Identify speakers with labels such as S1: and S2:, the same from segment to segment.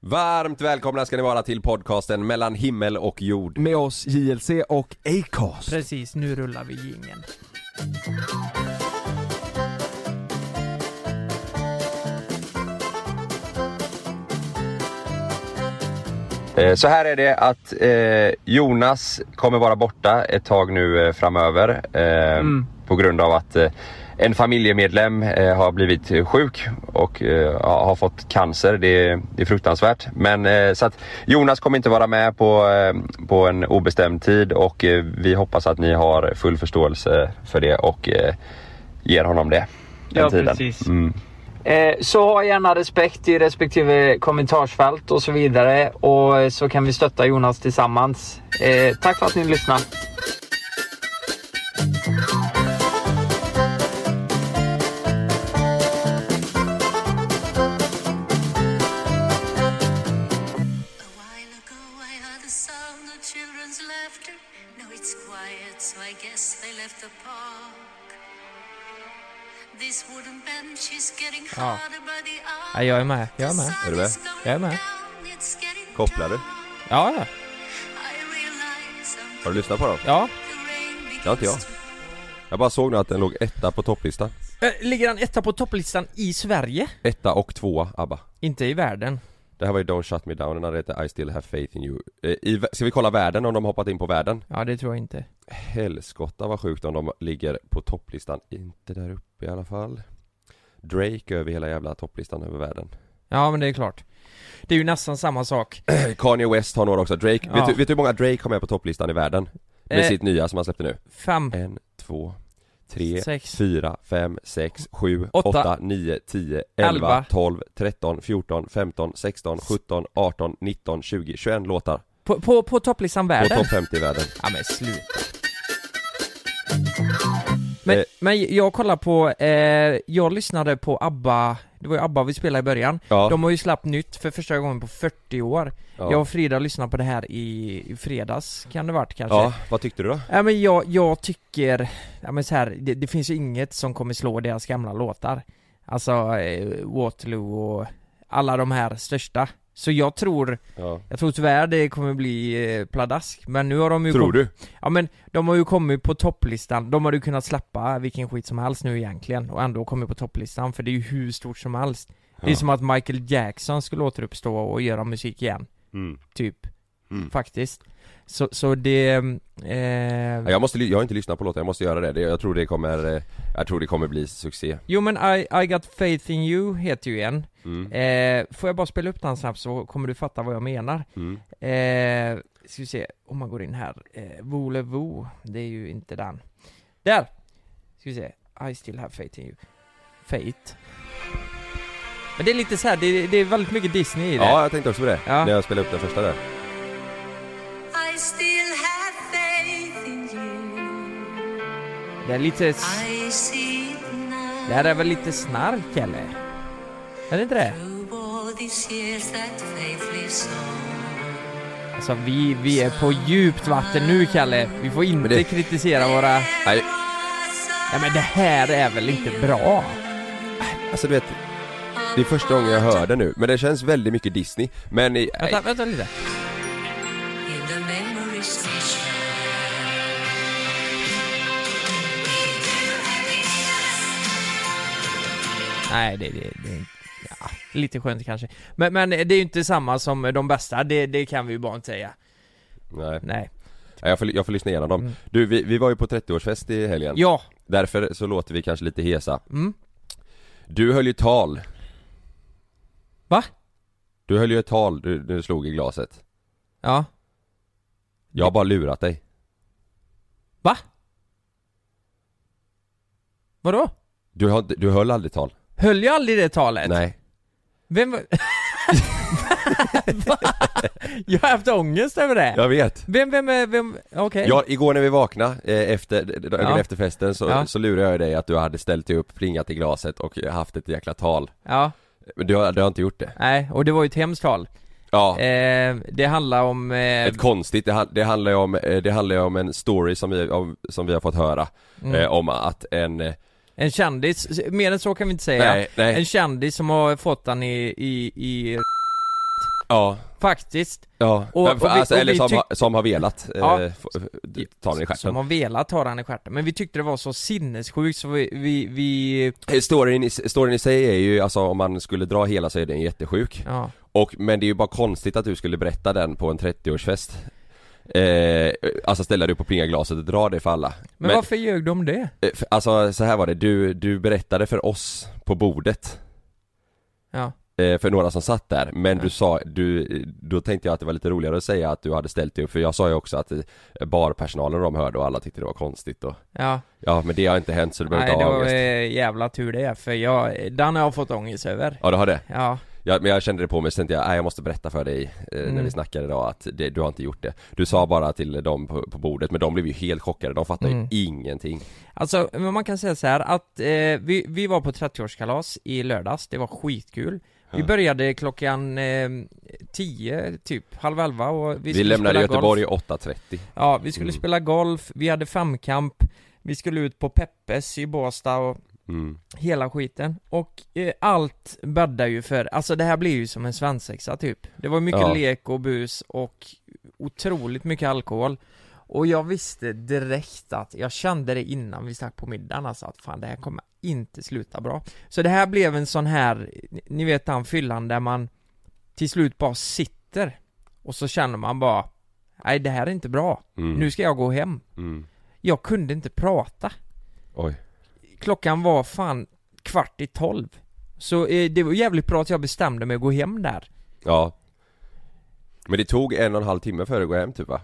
S1: Varmt välkomna ska ni vara till podcasten mellan himmel och jord.
S2: Med oss JLC och Acast.
S3: Precis, nu rullar vi jingeln.
S1: Eh, Så här är det att eh, Jonas kommer vara borta ett tag nu eh, framöver eh,
S4: Mm.
S1: på grund av att eh, en familjemedlem eh, har blivit eh, sjuk och eh, ha- har fått cancer. Det är, det är fruktansvärt. Men eh, så att Jonas kommer inte vara med på, eh, på en obestämd tid och eh, vi hoppas att ni har full förståelse för det och eh, ger honom det. den
S4: Ja,
S1: tiden.
S4: precis.
S1: Mm.
S4: Eh, Så ha gärna respekt i respektive kommentarsfält och så vidare och eh, så kan vi stötta Jonas tillsammans. Eh, Tack för att ni lyssnade.
S5: A while ago, I heard the sound of children's laughter. Now it's quiet, so I guess they left the park. This wooden bench is getting
S3: Ah.
S5: harder by the hour.
S3: Ja, jag är med. Jag är med.
S1: Är du med?
S3: Jag är er med.
S1: Kopplar du?
S3: Ja, ja.
S1: Har du lyssnat på dem?
S3: ja.
S1: Det har inte jag. Jag bara såg nu att den låg etta på topplistan.
S3: Eh, Ligger han etta på topplistan i Sverige?
S1: Etta och tvåa, ABBA.
S3: Inte i världen.
S1: Det här var ju Don't Shut Me Down, den andra heter I Still Have Faith In You Eh, I, vä- Ska vi kolla världen om de hoppat in på världen?
S3: Ja, det tror jag inte.
S1: Helskotta vad sjukt om de ligger på topplistan, inte där uppe i alla fall Drake över hela jävla topplistan över världen
S3: Ja, men det är klart. Det är ju nästan samma sak.
S1: Kanye West har några också, Drake,
S3: Ja.
S1: vet, du, vet du hur många Drake har med på topplistan i världen? Med
S3: Eh.
S1: sitt nya som han släppte nu?
S3: Fem,
S1: En, två, tre,
S3: Sex.
S1: fyra, fem, sex, sju,
S3: Åtta.
S1: åtta, nio, tio, elva,
S3: Elva.
S1: tolv, tretton, fjorton, femton, sexton, sjutton, arton, nitton, tjugo, tjugoen låtar
S3: på, på, på topplistan
S1: på
S3: världen?
S1: topp 50 i världen
S3: Ja men sluta. Men,
S1: Eh.
S3: men jag kollar på, eh, jag lyssnade på ABBA, det var ju ABBA vi spelade i början.
S1: Ja.
S3: De har ju släppt nytt för första gången på 40 år.
S1: Ja.
S3: Jag och Frida lyssnade på det här i, i fredags, kan det varit kanske?
S1: Ja, vad tyckte du då?
S3: Ja, men jag, jag tycker, ja men så här, det, det finns ju inget som kommer slå deras gamla låtar. Alltså eh, Waterloo och alla de här största. Så jag tror,
S1: Ja.
S3: jag tror tyvärr det kommer bli eh, pladask, men nu har de ju
S1: Tror
S3: kommit-
S1: du?
S3: Ja men de har ju kommit på topplistan, de hade ju kunnat släppa vilken skit som helst nu egentligen och ändå kommit på topplistan för det är ju hur stort som helst Det är
S1: Ja.
S3: som att Michael Jackson skulle återuppstå och göra musik igen,
S1: Mm.
S3: typ,
S1: Mm.
S3: faktiskt Så, så det, eh,
S1: Ja, Jag, måste, ly- jag har inte lyssnat på låten, jag måste göra det. det. Jag tror det kommer, eh, jag tror det kommer bli succé.
S3: Jo men I, I got faith in you heter ju en
S1: Mm.
S3: eh, Får jag bara spela upp den snabbt så kommer du fatta vad jag menar
S1: Mm.
S3: eh, Ska vi se, om man går in här, eh, Volevo, det är ju inte den Där! Ska vi se, I still have faith in you Fate Men det är lite så här, det, det är väldigt mycket Disney i det
S1: Ja, jag tänkte också på det.
S3: Ja.
S1: När jag spelade upp den första där.
S5: I still have faith in you.
S3: Det är lite, s-
S5: I see it now.
S3: det här är väl lite snark eller? Är det inte det?
S5: Through all these years that faith lives on.
S3: Alltså vi, vi är på djupt vatten nu Kalle, vi får inte
S1: det-
S3: kritisera våra...
S1: Nej,
S3: Nej men det här är väl inte bra?
S1: alltså du vet. Det är första gången jag hör den nu, men det känns väldigt mycket Disney. Men i,
S3: Vänta, vänta lite
S5: In the memory station.
S3: Nej, det, det, det ja, lite skönt kanske. Men, men det är ju inte samma som de bästa, det, det kan vi ju bara inte säga.
S1: nej,
S3: Nej.
S1: Nej, jag, får, jag får lyssna igenom
S3: Mm.
S1: dem. Du, vi, vi var ju på 30-årsfest i helgen.
S3: Ja,
S1: Därför så låter vi kanske lite hesa.
S3: Mm.
S1: Du höll ju tal.
S3: va?
S1: Du höll ju ett tal du, du slog i glaset.
S3: Ja.
S1: Jag har bara lurat dig.
S3: Va? Vadå?
S1: Du, har, inte- du höll aldrig tal.
S3: Höll jag aldrig det talet?
S1: Nej.
S3: Vem var... Va? Jag har haft ångest över det.
S1: Jag vet.
S3: Vem, vem, är- vem, okej.
S1: Ja, igår när vi vaknade eh, efter, dagen
S3: Ja.
S1: efter festen så,
S3: Ja.
S1: så lurade jag dig att du hade ställt dig upp, plingat i glaset och haft ett jäkla tal
S3: Ja,
S1: Men du har, du har inte gjort det?
S3: nej, och det var ju ett hemskt tal.
S1: Ja,
S3: Eh, det handlar om... Eh,
S1: ett konstigt, det, han- det handlar ju om, eh, det handlar ju om en story som vi, om, som vi har fått höra
S3: Mm.
S1: eh, Om att en, eh,
S3: En kändis, mer än så kan vi inte säga.
S1: Nej, nej.
S3: En kändis som har fått han i, i, i
S1: Ja,
S3: Faktiskt.
S1: ja.
S3: Och-
S1: Men för,
S3: och vi-
S1: alltså,
S3: och
S1: eller
S3: vi
S1: som,
S3: tyck-
S1: har- som har velat
S3: Ja.
S1: eh, f- f- ta den i
S3: Som
S1: stjärten.
S3: har velat ha den i stjärten, men vi tyckte det var så sinnessjukt så vi, vi, vi
S1: Eh, Storyn i, storyn i sig är ju, alltså om man skulle dra hela så är den jättesjuk.
S3: ja.
S1: Och, men det är ju bara konstigt att du skulle berätta den på en 30-årsfest. Eh, alltså ställa dig upp och plinga glaset och dra det för alla.
S3: Men, varför ljög de om det?
S1: eh, f- alltså så här var det, du, du berättade för oss på bordet,
S3: Ja,
S1: eh, för några som satt där, men
S3: Ja.
S1: du sa, du, då tänkte jag att det var lite roligare att säga att du hade ställt dig upp, för jag sa ju också att eh, barpersonalen de hörde och alla tyckte det var konstigt och,
S3: ja.
S1: ja men det har inte hänt så du behöver
S3: Nej
S1: inte
S3: det
S1: ha
S3: var
S1: ångest.
S3: eh, jävla tur det, för jag, den har jag fått ångest över
S1: Ja du har det?
S3: Ja,
S1: Ja, men jag kände det på mig, så tänkte jag, nej jag måste berätta för dig eh, när
S3: Mm.
S1: vi snackade idag att det, du har inte gjort det Du sa bara till dem på, på bordet, men de blev ju helt chockade, de fattade
S3: Mm.
S1: ju ingenting
S3: alltså men man kan säga så här att eh, vi, vi var på 30-årskalas i lördags, det var skitkul Vi
S1: Ja.
S3: började klockan eh, 10 typ, halv elva och vi,
S1: Vi,
S3: skulle
S1: lämnade
S3: spela golf.
S1: Göteborg 8.30
S3: Ja, vi skulle
S1: Mm.
S3: spela golf, vi hade femkamp Vi skulle ut på Peppes i Båstad och
S1: mm.
S3: Hela skiten. Och eh, allt bäddar ju för, alltså det här blir ju som en svensexa typ. Det var mycket
S1: Ja.
S3: lek och bus och otroligt mycket alkohol. Och jag visste direkt att, jag kände det innan vi stack på middagen alltså att fan det här kommer inte sluta bra. Så det här blev en sån här, ni vet den fyllan där man till slut bara sitter och så känner man bara, nej det här är inte bra,
S1: Mm.
S3: nu ska jag gå hem.
S1: Mm.
S3: Jag kunde inte prata
S1: Oj,
S3: klockan var fan kvart i tolv. Så eh, det var jävligt bra att jag bestämde mig att gå hem där.
S1: ja Men det tog en och en halv timme för att gå hem typ va?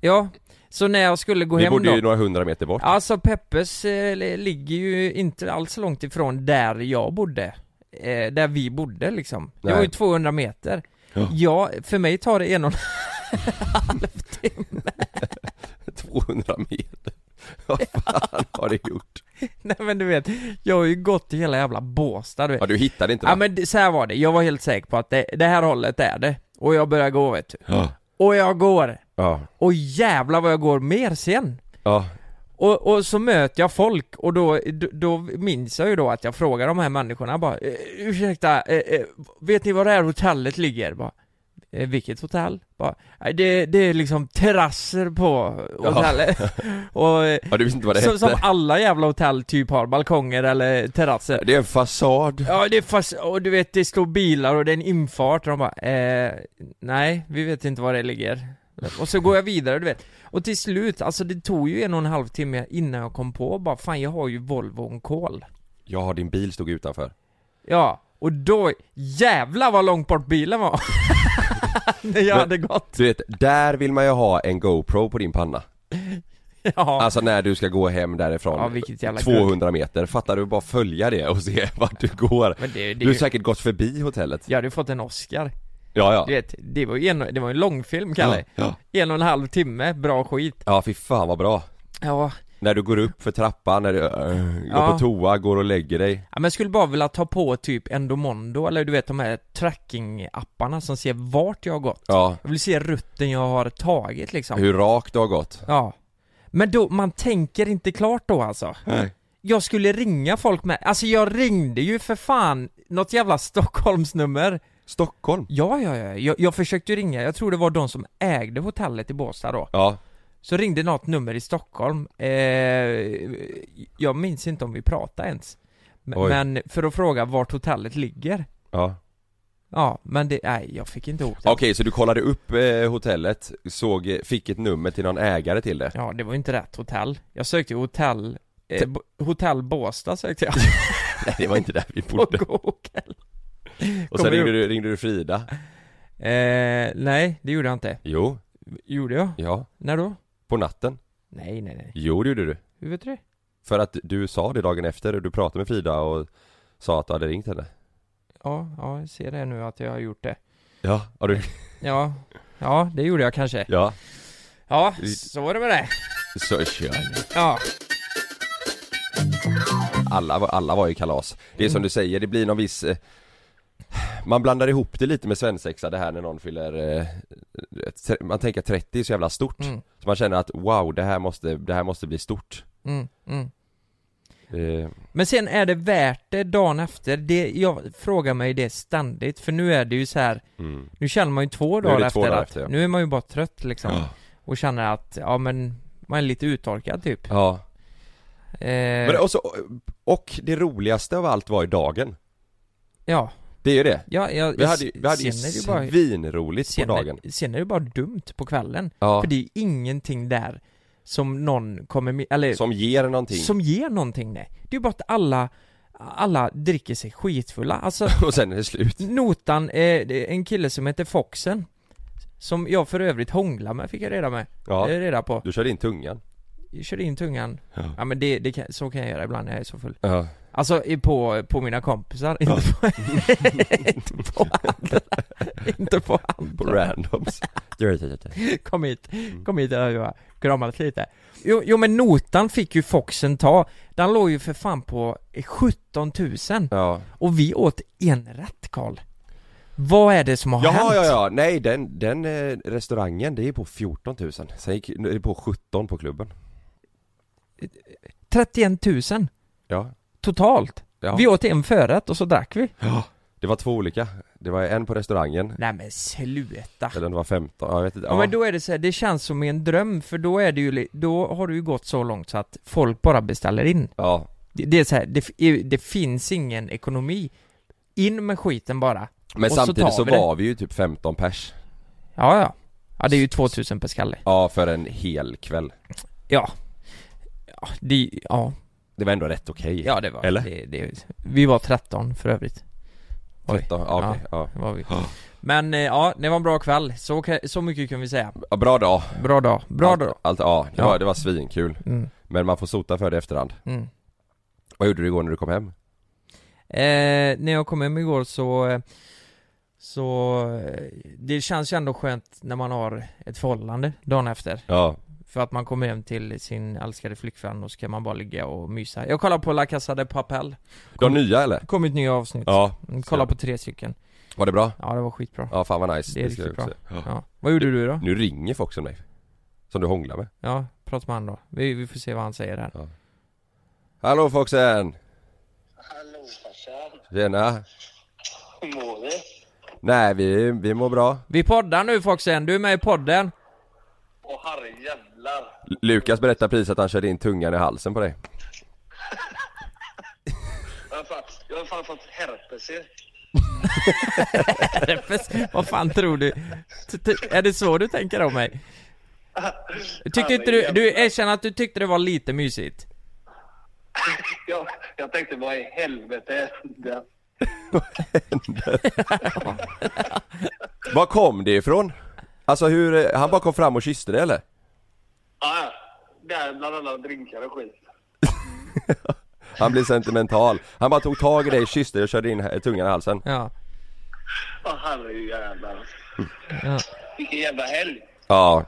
S3: Ja, så när jag skulle gå
S1: Vi
S3: hem
S1: bodde
S3: då.
S1: ju några hundra meter bort
S3: Alltså Peppes eh, li- ligger ju inte alls långt ifrån där jag bodde. Eh, där vi bodde liksom. Det
S1: Nej.
S3: var ju 200 meter.
S1: Ja.
S3: Ja. för mig tar det en och en
S1: 200 meter Vad fan har du gjort?
S3: Nej men du vet, jag har ju gått i hela jävla Båstad du vet.
S1: Ja du hittade inte
S3: Ja
S1: va?
S3: men det- så här var det, jag var helt säker på att det, det här hållet är det. Och jag börjar gå vet du.
S1: Ja,
S3: Och jag går.
S1: ja,
S3: Och jävlar vad jag går mer sen!
S1: ja,
S3: Och, och så möter jag folk och då, då, då minns jag ju då att jag frågar de här människorna bara eh, Ursäkta, eh, eh, vet ni var det här hotellet ligger? Bara, eh, vilket hotell? Bara, "Nej, det, det är liksom terrasser på hotellet och, eh,
S1: ja du visste inte vad det
S3: som,
S1: hette?
S3: som alla jävla hotell typ har, balkonger eller terrasser
S1: Det är en fasad
S3: Ja det är fast, och du vet det står bilar och det är en infart och de bara eh, nej vi vet inte var det ligger Och så går jag vidare du vet Och till slut, alltså det tog ju en och en halv timme innan jag kom på bara fan jag har ju Volvo kol
S1: Ja din bil stod utanför
S3: Ja, och då, jävlar vad långt bort bilen var! När jag
S1: Men-
S3: hade gått,
S1: Du vet, där vill man ju ha en GoPro på din panna
S3: ja
S1: Alltså när du ska gå hem därifrån
S3: Ja, vilket jävla
S1: 200 meter, fattar du? Bara följa det och se vart du går
S3: Men det, det,
S1: Du har
S3: du
S1: säkert gått förbi hotellet
S3: jag hade ju fått en Oscar,
S1: Ja, ja
S3: du vet, det var ju en, det var en långfilm Kalle
S1: ja.
S3: En och en halv timme, bra skit
S1: Ja, fy fan vad bra
S3: Ja,
S1: När du går upp för trappan, när du äh, går
S3: Ja.
S1: på toa, går och lägger dig
S3: Ja, men jag skulle bara vilja ta på typ Endomondo eller du vet de här tracking-apparna som ser vart jag har gått.
S1: Ja,
S3: Jag vill se rutten jag har tagit liksom.
S1: hur rakt du har gått
S3: Ja. Men då, man tänker inte klart då alltså.
S1: Nej.
S3: Jag skulle ringa folk med, alltså jag ringde ju för fan något jävla Stockholmsnummer.
S1: Stockholm
S3: Ja, ja, ja, jag, jag försökte ju ringa, jag tror det var de som ägde hotellet i Båstad då.
S1: Ja,
S3: Så ringde något nummer i Stockholm, eh, jag minns inte om vi pratade ens. Men,
S1: Oj.
S3: men för att fråga vart hotellet ligger.
S1: ja
S3: Ja, men det, nej jag fick inte ihop det.
S1: Okej, så du kollade upp eh, hotellet, såg, eh, fick ett nummer till någon ägare till det?
S3: Ja, det var ju inte rätt hotell. Jag sökte ju hotell, eh, bo, hotell Båstad sökte jag
S1: Nej, det var inte där vi
S3: på
S1: bodde
S3: Google.
S1: Och sen
S3: kommer
S1: ringde du, ringde du Frida
S3: Eh, nej, det gjorde jag inte.
S1: Jo,
S3: Gjorde jag?
S1: ja,
S3: När då?
S1: på natten
S3: Nej, nej, nej.
S1: Jo, det gjorde du
S3: Hur vet du det?
S1: För att du sa det dagen efter, du pratade med Frida och sa att du hade ringt henne
S3: Ja, ja, jag ser det nu att jag har gjort det.
S1: Ja, har du?
S3: Ja, ja, det gjorde jag kanske.
S1: Ja,
S3: Ja, så var det med det.
S1: så kör jag.
S3: Ja,
S1: alla, var- alla var ju kalas Det är som du säger, det blir någon viss eh, Man blandar ihop det lite med svensexa det här när någon fyller eh, tre- Man tänker 30 är så jävla stort
S3: Mm.
S1: Så man känner att wow, det här måste, det här måste bli stort
S3: mm, mm.
S1: Eh,
S3: Men sen är det värt det dagen efter, det, jag frågar mig det ständigt för nu är det ju så här
S1: mm.
S3: Nu känner man ju två
S1: Nu är det
S3: dagar
S1: två
S3: efter,
S1: dagar
S3: att,
S1: efter, ja.
S3: nu är man ju bara trött liksom
S1: Ja.
S3: Och känner att, ja men, man är lite uttorkad typ
S1: Ja.
S3: eh,
S1: Men, och, så, och det roligaste av allt var ju dagen.
S3: Ja,
S1: Det är ju det.
S3: ja jag
S1: Vi hade, ju- vi hade ju
S3: sen är det ju bara,
S1: svinroligt på
S3: sen,
S1: dagen.
S3: är, sen är det bara dumt på kvällen
S1: Ja.
S3: För det är ju ingenting där som någon kommer, mi- eller
S1: Som ger någonting.
S3: som ger någonting nej Det är ju bara att alla, alla dricker sig skitfulla, alltså
S1: Och sen är det slut.
S3: Notan, eh, det är en kille som heter Foxen Som jag för övrigt hånglar med, fick jag reda med
S1: Ja.
S3: eh, reda på
S1: Du körde in tungan.
S3: Jag körde in tungan
S1: Ja.
S3: Ja, men det, det kan, så kan jag göra ibland när jag är så full
S1: Ja.
S3: Alltså i- på, på mina kompisar, inte på, inte på andra Inte på
S1: På Mm.
S3: andra
S1: randoms.
S3: Kom hit, kom hit och jag kramat lite jo, jo men notan fick ju Foxen ta Den låg ju för fan på 17 000
S1: ja.
S3: Och vi åt en rätt Karl Vad är det som har hänt?
S1: Jaha, ja, ja. Nej, den, den eh, restaurangen, det är på 14 000. Sen gick, nu är det på 17 på klubben.
S3: 31 000
S1: Ja.
S3: totalt.
S1: ja.
S3: Vi åt en förrätt och så drack vi.
S1: Det var två olika. Det var en på restaurangen,
S3: Nej men sluta.
S1: eller det var 15, ja, jag vet inte.
S3: Ja.
S1: Ja.
S3: men då är det så här, det känns som i en dröm för då är det ju, li- då har det ju gått så långt så att folk bara beställer in.
S1: ja.
S3: Det, det är så här, det, f- i- det finns ingen ekonomi. In med skiten bara.
S1: Men
S3: Och så
S1: samtidigt
S3: tar
S1: så,
S3: vi det.
S1: var vi ju typ 15 pers.
S3: Ja ja. Ja det är ju 2000 per skalle.
S1: Ja, för en hel kväll.
S3: Ja. Ja, det, ja.
S1: Det var ändå rätt okej.
S3: ja det var
S1: Eller?
S3: Det, det, vi var 13 för övrigt. Oj.
S1: 13, ja, okej, ja.
S3: Det Var vi. Men eh, ja, det var en bra kväll. Så, kan- så mycket kan vi säga.
S1: ja. Bra dag.
S3: Bra dag. Bra
S1: allt,
S3: dag.
S1: Allt, ja, det,
S3: Ja.
S1: Var, det var svinkul.
S3: Mm.
S1: Men man får sota för det i efterhand.
S3: Mm.
S1: Vad gjorde du igår när du kom hem?
S3: Eh, när jag kom hem igår så, eh, så, eh, det känns ju ändå skönt när man har ett förhållande dagen efter.
S1: Ja.
S3: För att man kommer hem till sin älskade flickvän och så kan man bara ligga och mysa. Jag kollar på La Casa de Papel.
S1: De nya eller?
S3: Det kom ett nytt avsnitt.
S1: Ja.
S3: Mm, Kolla på tre stycken.
S1: Var det bra?
S3: Ja, det var skitbra.
S1: Ja, fan vad nice.
S3: Det är
S1: ska
S3: riktigt
S1: jag
S3: bra.
S1: också säga.
S3: Ja. Vad gjorde du då?
S1: Nu ringer Foxen mig. Som du hånglar med.
S3: Ja, prata med han då. Vi, vi får se vad han säger här.
S1: Hallå Foxen!
S6: Hallå farsan,
S1: Tjena!
S6: hur mår du?
S1: Nej, vi, vi mår bra.
S3: Vi poddar nu Foxen, du är med i podden.
S6: Åh herrejävlar!
S1: L- Lukas berättar precis att han körde in tungan i halsen på dig.
S6: Jag har fan, jag har fan fått herpes ju.
S3: Herpes, vad fan tror du? T- t- Är det så du tänker om mig? Tyckte inte du, du erkänner att du tyckte det var lite mysigt?
S6: Jag, jag tänkte vad i helvete är det?
S1: Var kom det ifrån? Alltså hur, eh, han bara kom fram och kysste dig eller?
S6: Ja, ja. där bland annat drinkar och skit.
S1: Han blev sentimental. Han bara tog tag i dig, kysste dig och körde in eh, tungan i halsen.
S3: Ja.
S6: Åh herrejävlar.
S3: Ja.
S6: Vilken jävla helg!
S1: Ja.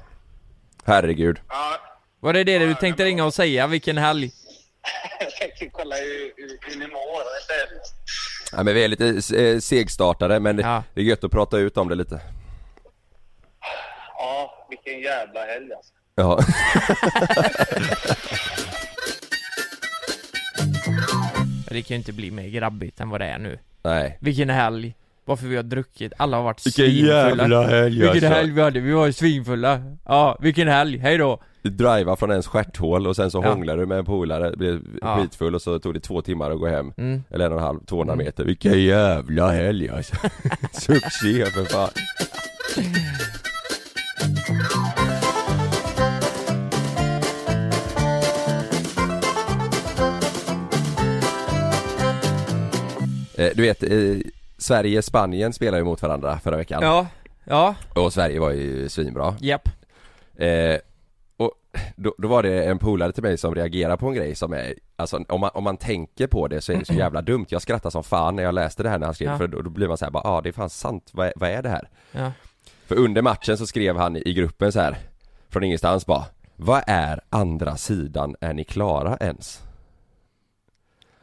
S1: Herregud.
S6: Ja,
S3: Var det det du tänkte ringa och säga? Vilken helg?
S6: jag tänkte kolla hur, hur, hur ni mår istället.
S1: Ja, men vi är lite eh, segstartade men
S3: Ja.
S1: det är gött att prata ut om det lite.
S6: Ja, vilken jävla helg alltså.
S1: Ja.
S3: Det kan ju inte bli mer grabbigt än vad det är nu.
S1: Nej.
S3: Vilken helg? Varför vi har druckit? Alla har varit
S1: Vilken
S3: svinfulla.
S1: jävla helg,
S3: Vilken
S1: alltså.
S3: helg vi hade, vi var ju svinfulla. Ja, vilken helg, hej då.
S1: Du drivar från ens stjärthål och sen så
S3: Ja.
S1: hånglar du med en polare, blir
S3: Ja.
S1: skitfull och så tog det två timmar att gå hem.
S3: Mm.
S1: Eller en och en halv, 200 meter. Vilken jävla helg alltså. Succé för fan. Eh, Du vet, eh, Sverige och Spanien spelar ju mot varandra förra veckan
S3: Ja, ja,
S1: och Sverige var ju svinbra.
S3: japp.
S1: Eh, och då, då var det en polare till mig som reagerade på en grej som är, alltså om man, om man tänker på det så är det så jävla dumt. Jag skrattade som fan när jag läste det här när han skrev,
S3: Ja.
S1: för då, då blir man så här bara, ja ah, det är fan sant, vad, är- vad är det här?
S3: Ja.
S1: För under matchen så skrev han i gruppen så här från ingenstans bara, vad är andra sidan, är ni klara ens?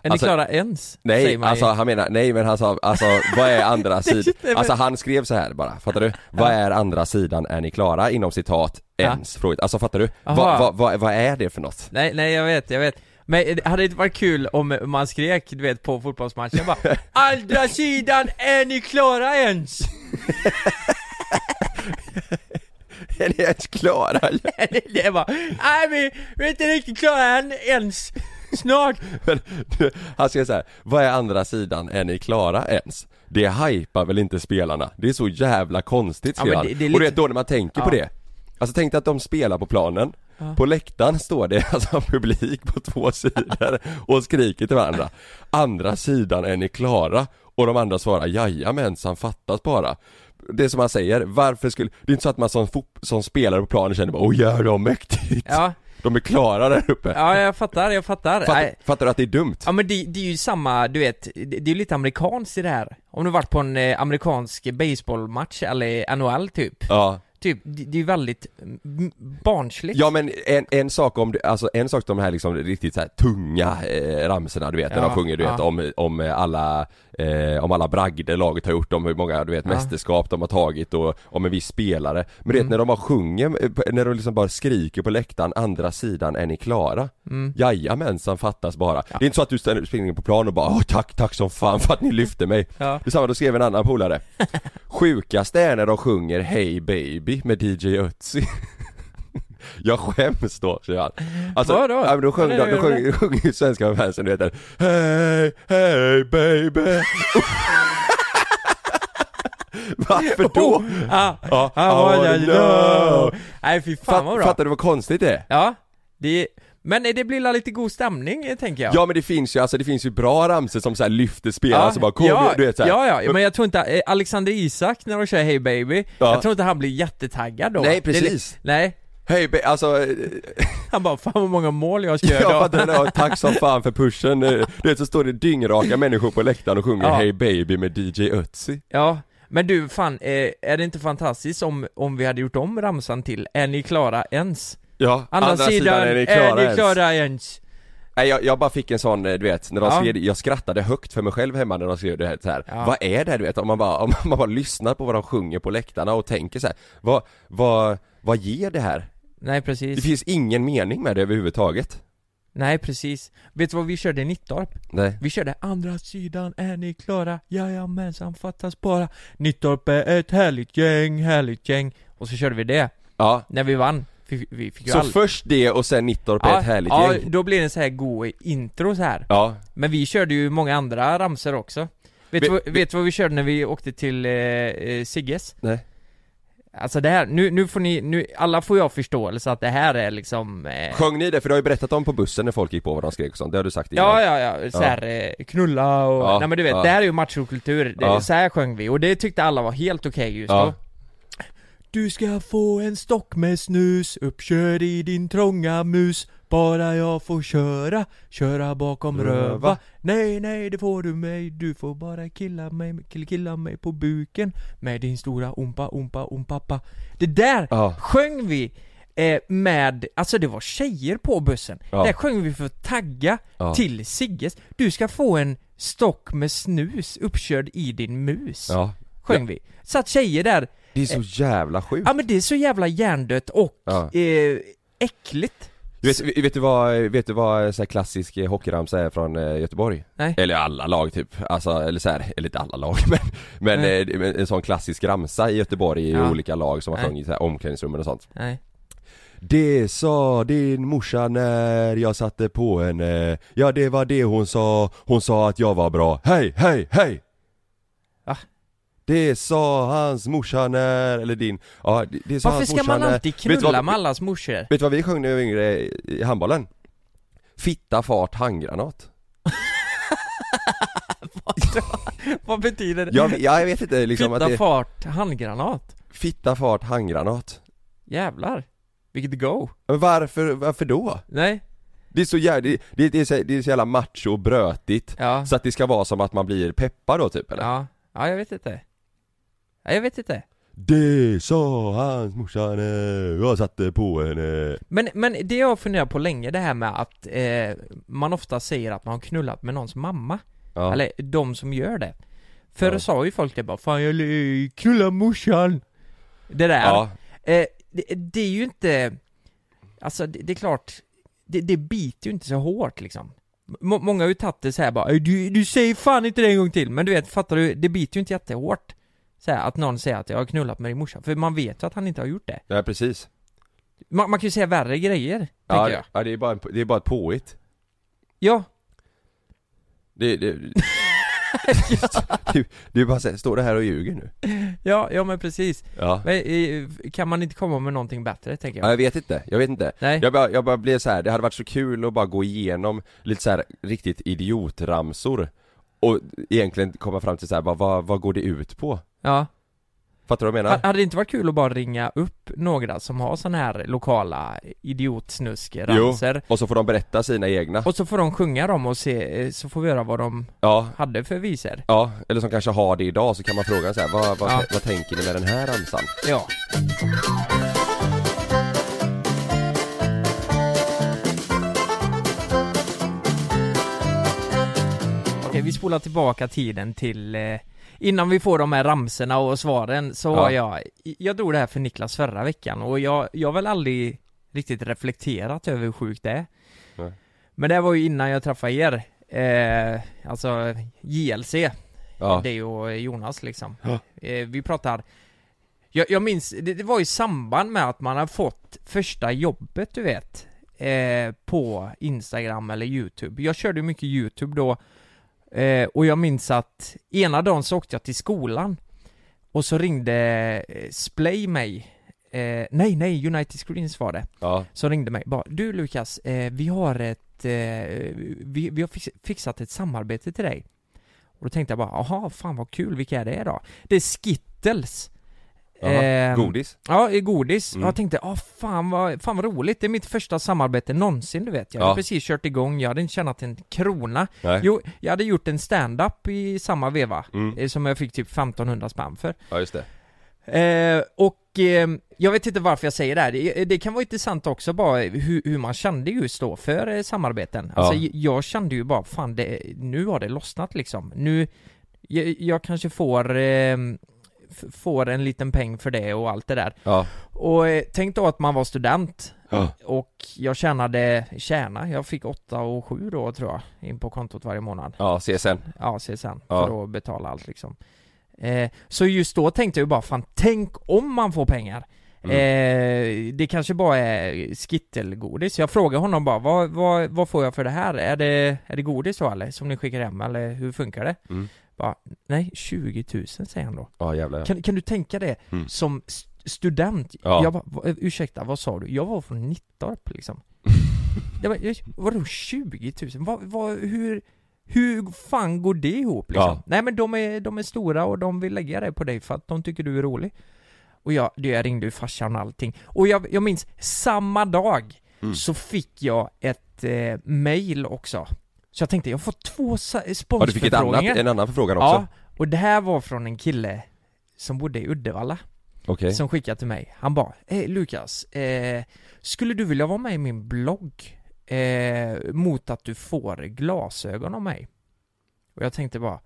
S3: Är ni
S1: Alltså-
S3: klara ens?
S1: Nej,
S3: Säger man ju.
S1: alltså han menar, nej men han sa, alltså vad är andra sidan?
S3: men-
S1: Alltså han skrev så här bara, fattar du? Vad är andra sidan, är ni klara? Inom citat, ens, fråget. Alltså fattar du? Vad
S3: Aha.
S1: vad- vad- vad är det för något?
S3: Nej, nej jag vet, jag vet. Men det hade det inte varit kul om man skrek, du vet, på fotbollsmatchen bara Andra sidan, är ni klara ens?
S1: Är ni ens klara?
S3: det är bara, nej vi, vi är inte riktigt klara än, ens Snart!
S1: Men, du, han säger så här, vad är andra sidan, är ni klara ens? Det hypar väl inte spelarna? Det är så jävla konstigt
S3: Ja,
S1: skrev
S3: men
S1: han.
S3: det- det är
S1: Och du
S3: lite-
S1: vet då när man tänker på
S3: Ja.
S1: det Alltså tänk dig att de spelar på planen På läktaren står det alltså publik på två sidor och skriker till varandra Andra sidan, är ni klara? Och de andra svarar jajamensan, fattas bara Det är som man säger, varför skulle, det är inte så att man som, fot- som spelare på planen känner bara åh jävlar vad mäktigt
S3: Ja,
S1: De är klara där uppe
S3: ja jag fattar, jag fattar
S1: fattar,
S3: Nej.
S1: fattar du att det är dumt?
S3: Ja men det, det är ju samma, du vet, det, det är ju lite amerikanskt i det här Om du varit på en eh, amerikansk baseballmatch eller NHL typ
S1: ja.
S3: Typ, det, det är ju väldigt mm, barnsligt
S1: Ja men en, en sak om, det- alltså en sak om de här liksom riktigt så här tunga eh, ramsorna du vet när de
S3: Ja,
S1: sjunger du vet
S3: ja.
S1: om, om alla, eh, om alla bragder laget har gjort, om hur många du vet mästerskap de har tagit och om en viss spelare. Men du
S3: Mm.
S1: vet när de bara sjunger, eh, på- när de liksom bara skriker på läktaren, andra sidan är ni klara? Mm. Jajamensan fattas bara. Det är inte så att du ställer- springer på plan och bara Åh, tack, tack som fan för att ni lyfte mig.
S3: Ja.
S1: Detsamma, då skrev en annan polare. Sjukaste är när de sjunger Hey baby med DJ Ötzi. Jag skäms då, säger han. Alltså,
S3: Vadå?
S1: Ja, men då sjöng,
S3: Ja,
S1: de,
S3: det-
S1: då sjöng, då sjöng ju svenska fansen, du vet den, Hej, hej baby Varför då?
S3: Oh! Ah,
S1: Ja,
S3: ah,
S1: I wanna
S3: ja,
S1: know.
S3: no. Nej fy fan vad
S1: Fatt,
S3: bra
S1: fattar du vad konstigt det är?
S3: Ja, det, men det blir la lite god stämning eh, tänker jag
S1: Ja men det finns ju, alltså det finns ju bra ramsor som så här lyfter spelare som bara kom,
S3: ja,
S1: du vet så här.
S3: ja, ja, men jag tror inte, eh, Alexander Isak när de kör Hey Baby,
S1: Ja.
S3: jag tror inte han blir jättetaggad då
S1: Nej,
S3: Det är li-
S1: precis.
S3: Nej,
S1: Hej ba- alltså, eh,
S3: han bara 'Fan vad många mål jag ska göra
S1: jag
S3: idag'
S1: fattar det, ja, tack som fan för pushen eh. Du vet så står det dyngraka människor på läktaren och sjunger
S3: Ja.
S1: Hey baby med DJ Ötzi
S3: Ja, men du fan, eh, är det inte fantastiskt om, om vi hade gjort om ramsan till 'Är ni klara ens?'
S1: Ja,
S3: Andra, sidan, är ni klara, ens?
S1: Nej jag, jag bara fick en sån, eh, du vet, när de
S3: Ja.
S1: skrev det, jag skrattade högt för mig själv hemma när de skrev det här, så här.
S3: Ja.
S1: Vad är det här du vet? Om man bara, om man bara lyssnar på vad de sjunger på läktarna och tänker så här. vad, vad, vad ger det här?
S3: Nej
S1: Det
S3: precis,
S1: finns ingen mening med det överhuvudtaget
S3: nej precis Vet du vad vi körde i Nittorp?
S1: Nej
S3: Vi körde 'Andra sidan, är ni klara? Jajamensan, fattas bara' Nittorp är ett härligt gäng, härligt gäng Och så körde vi det
S1: Ja,
S3: När vi vann, vi, vi fick ju
S1: så
S3: all...
S1: först det och sen Nittorp är ett härligt
S3: ja,
S1: gäng
S3: då blir det en så här god intro så här.
S1: Ja,
S3: Men vi körde ju många andra ramsor också Vet,
S1: Vi-
S3: du vad- vet du vad vi körde när vi åkte till eh, eh, Sigges?
S1: nej
S3: Alltså det här, nu, nu får ni, nu, alla får ju ha förståelse att det här är liksom eh,
S1: Sjöng ni det? För du har ju berättat om på bussen när folk gick på vad de skrek och sånt, det har du sagt innan
S3: Ja, ja, ja, så här, eh, knulla och,
S1: Ja,
S3: nej men du vet,
S1: ja.
S3: det här är ju machokultur, det,
S1: Ja.
S3: så här sjöng vi och det tyckte alla var helt okej just
S1: Ja.
S3: då Du ska få en stock med snus, uppkörd i din trånga mus Bara jag får köra, köra bakom
S1: Röva.
S3: röva, Nej, nej det får du mig, du får bara killa mig, kill, killa mig på buken Med din stora ompa, ompa, ompappa Det där
S1: Ja.
S3: sjöng vi eh, med, alltså det var tjejer på bussen
S1: Ja.
S3: Där sjöng vi för att tagga
S1: Ja.
S3: till Sigges Du ska få en stock med snus uppkörd i din mus
S1: ja.
S3: Sjöng vi Satt tjejer där,
S1: Det är
S3: Eh,
S1: så jävla sjukt
S3: ja men det är så jävla hjärndött och
S1: Ja.
S3: eh, äckligt
S1: Du vet, vet du vad, vet du vad så här klassisk eh, hockeyramsa är från eh, Göteborg?
S3: Nej.
S1: Eller alla lag typ, alltså, eller så här, eller inte alla lag men, men
S3: Nej.
S1: eh, det- men en sån klassisk ramsa i Göteborg i
S3: Ja.
S1: olika lag som har
S3: Nej.
S1: sjungit i så här omklädningsrummen och sånt
S3: Nej.
S1: Det sa din morsa när jag satte på henne, ja det var det hon sa, hon sa att jag var bra, hej, hej, hej!
S3: Va?
S1: Det sa hans morsa när, eller din, ja det, det sa
S3: Varför
S1: hans
S3: ska
S1: morsa
S3: man
S1: när-
S3: alltid
S1: Vet du vad-
S3: knulla med allas morsor?
S1: Vet du vad vi sjöng när vi var yngre i handbollen? Fitta, fart, handgranat
S3: Vad betyder det?
S1: Jag, jag vet inte liksom
S3: Fitta
S1: att det är
S3: fart, handgranat
S1: fitta, fart, handgranat
S3: Jävlar Vilket go!
S1: Men varför, varför då?
S3: Nej?
S1: Det är så jävla, det, det, det, är så, det är så jävla macho och brötigt
S3: Ja,
S1: Så att det ska vara som att man blir peppad då typ eller?
S3: ja, ja jag vet inte Ja, jag vet inte
S1: Det sa hans morsa när jag satte på henne
S3: Men, men det jag funderar på länge, det här med att eh, man ofta säger att man har knullat med någons mamma.
S1: ja.
S3: Eller de som gör det. Förr
S1: Ja.
S3: sa ju folk det bara 'Fan jag le- knullar morsan' Det där.
S1: ja,
S3: Eh, det, det är ju inte... Alltså det, det är klart, det, det biter ju inte så hårt liksom Må- Många har ju tagit det så här bara du, du säger fan inte det en gång till, men du vet, fattar du? Det biter ju inte jättehårt så här, att någon säger att jag har knullat med din morsa, för man vet ju att han inte har gjort det
S1: Nej precis.
S3: Man, man kan ju säga värre grejer,
S1: Ja,
S3: tänker jag
S1: ja det, är bara en, det är bara ett påhitt.
S3: Ja,
S1: Det, det, det, det är bara såhär, står det här och ljuger nu?
S3: ja, ja men precis
S1: Ja.
S3: men, eh, Kan man inte komma med någonting bättre, tänker
S1: ja.
S3: jag?
S1: Jag vet inte, jag vet inte.
S3: Nej.
S1: Jag bara, jag bara blev så här. det hade varit så kul att bara gå igenom lite så här riktigt idiotramsor. Och egentligen komma fram till så här, bara, vad, vad går det ut på?
S3: Ja
S1: Fattar du vad jag menar?
S3: Ha- Hade det inte varit kul att bara ringa upp några som har sån här lokala idiot-snusk-ramsor?
S1: Och så får de berätta sina egna.
S3: Och så får de sjunga dem och se, eh, så får vi höra vad de
S1: Ja,
S3: hade för visor.
S1: ja, eller som kanske har det idag så kan man fråga så här, vad, vad,
S3: Ja.
S1: vad tänker ni med den här ramsan?
S3: Ja. Okej, vi spolar tillbaka tiden till eh, Innan vi får de här ramserna och svaren så
S1: Ja.
S3: har jag Jag drog det här för Niklas förra veckan och jag, jag har väl aldrig riktigt reflekterat över hur sjukt det är
S1: Nej.
S3: Men det var ju innan jag träffade er eh, Alltså JLC
S1: Ja,
S3: det och Jonas liksom.
S1: Ja.
S3: Eh, vi pratar, jag, jag minns, det, det var i samband med att man har fått första jobbet du vet, eh, på Instagram eller YouTube. Jag körde ju mycket YouTube då, eh, och jag minns att ena dagen så åkte jag till skolan, och så ringde eh, Splay mig, eh, nej nej, United Screens var det
S1: ja,
S3: som ringde mig bara, du Lukas, eh, vi har ett, eh, vi, vi har fix, fixat ett samarbete till dig. Och då tänkte jag bara, aha, fan vad kul, vilka är det då? Det är Skittles.
S1: Jaha,
S3: Ehm,
S1: godis.
S3: Ja, i godis.
S1: Mm.
S3: Jag tänkte, ah fan, vad, fan vad roligt, det är mitt första samarbete någonsin du vet. Jag hade
S1: Ja.
S3: precis kört igång, jag hade inte tjänat en krona.
S1: Nej.
S3: Jo, jag hade gjort en stand-up i samma veva,
S1: Mm.
S3: eh, som jag fick typ 1500 spänn för.
S1: Ja just det.
S3: Eh, och eh, jag vet inte varför jag säger det här, det, det kan vara intressant också bara hur, hur man kände just då för eh, samarbeten.
S1: Ja.
S3: Alltså j- jag kände ju bara, fan det, nu har det lossnat liksom. Nu, jag, jag kanske får, eh, f- får en liten peng för det och allt det där.
S1: Ja.
S3: Och eh, tänk då att man var student
S1: Ja.
S3: och jag tjänade, tjäna, jag fick 8 och 7 då tror jag, in på kontot varje månad
S1: Ja, CSN.
S3: ja, CSN
S1: Ja.
S3: för att betala allt liksom. Eh, så just då tänkte jag ju bara, fan tänk om man får pengar.
S1: Mm.
S3: Eh, det kanske bara är skittelgodis. Jag frågade honom bara, vad, vad, vad får jag för det här? Är det, är det godis då eller? Som ni skickar hem eller hur funkar det?
S1: Mm.
S3: Bara, nej, 20 000 säger han då.
S1: Ja jävlar ja.
S3: Kan, kan du tänka det
S1: Mm.
S3: som st- student?
S1: Ja.
S3: Jag bara, "Va- ursäkta, vad sa du? Jag var från Nittorp liksom. jag bara, "Jag- vadå 20 000? Vad, vad, hur, hur fan går det ihop liksom?
S1: Ja.
S3: Nej men de är, de är stora och de vill lägga det på dig för att de tycker du är rolig. Och jag, det- jag ringde ju farsan och allting. Och jag, jag minns, samma dag
S1: Mm.
S3: så fick jag ett eh, mail också. Så jag tänkte, jag får två sa-
S1: Ja du fick ett annat,
S3: sponsförfrågningar.
S1: en annan förfrågan
S3: Ja,
S1: också?
S3: och det här var från en kille som bodde i Uddevalla,
S1: Okej.
S3: som skickade till mig. Han bara, eh, Lukas, eh, skulle du vilja vara med i min blogg eh, mot att du får glasögon av mig? Och jag tänkte bara,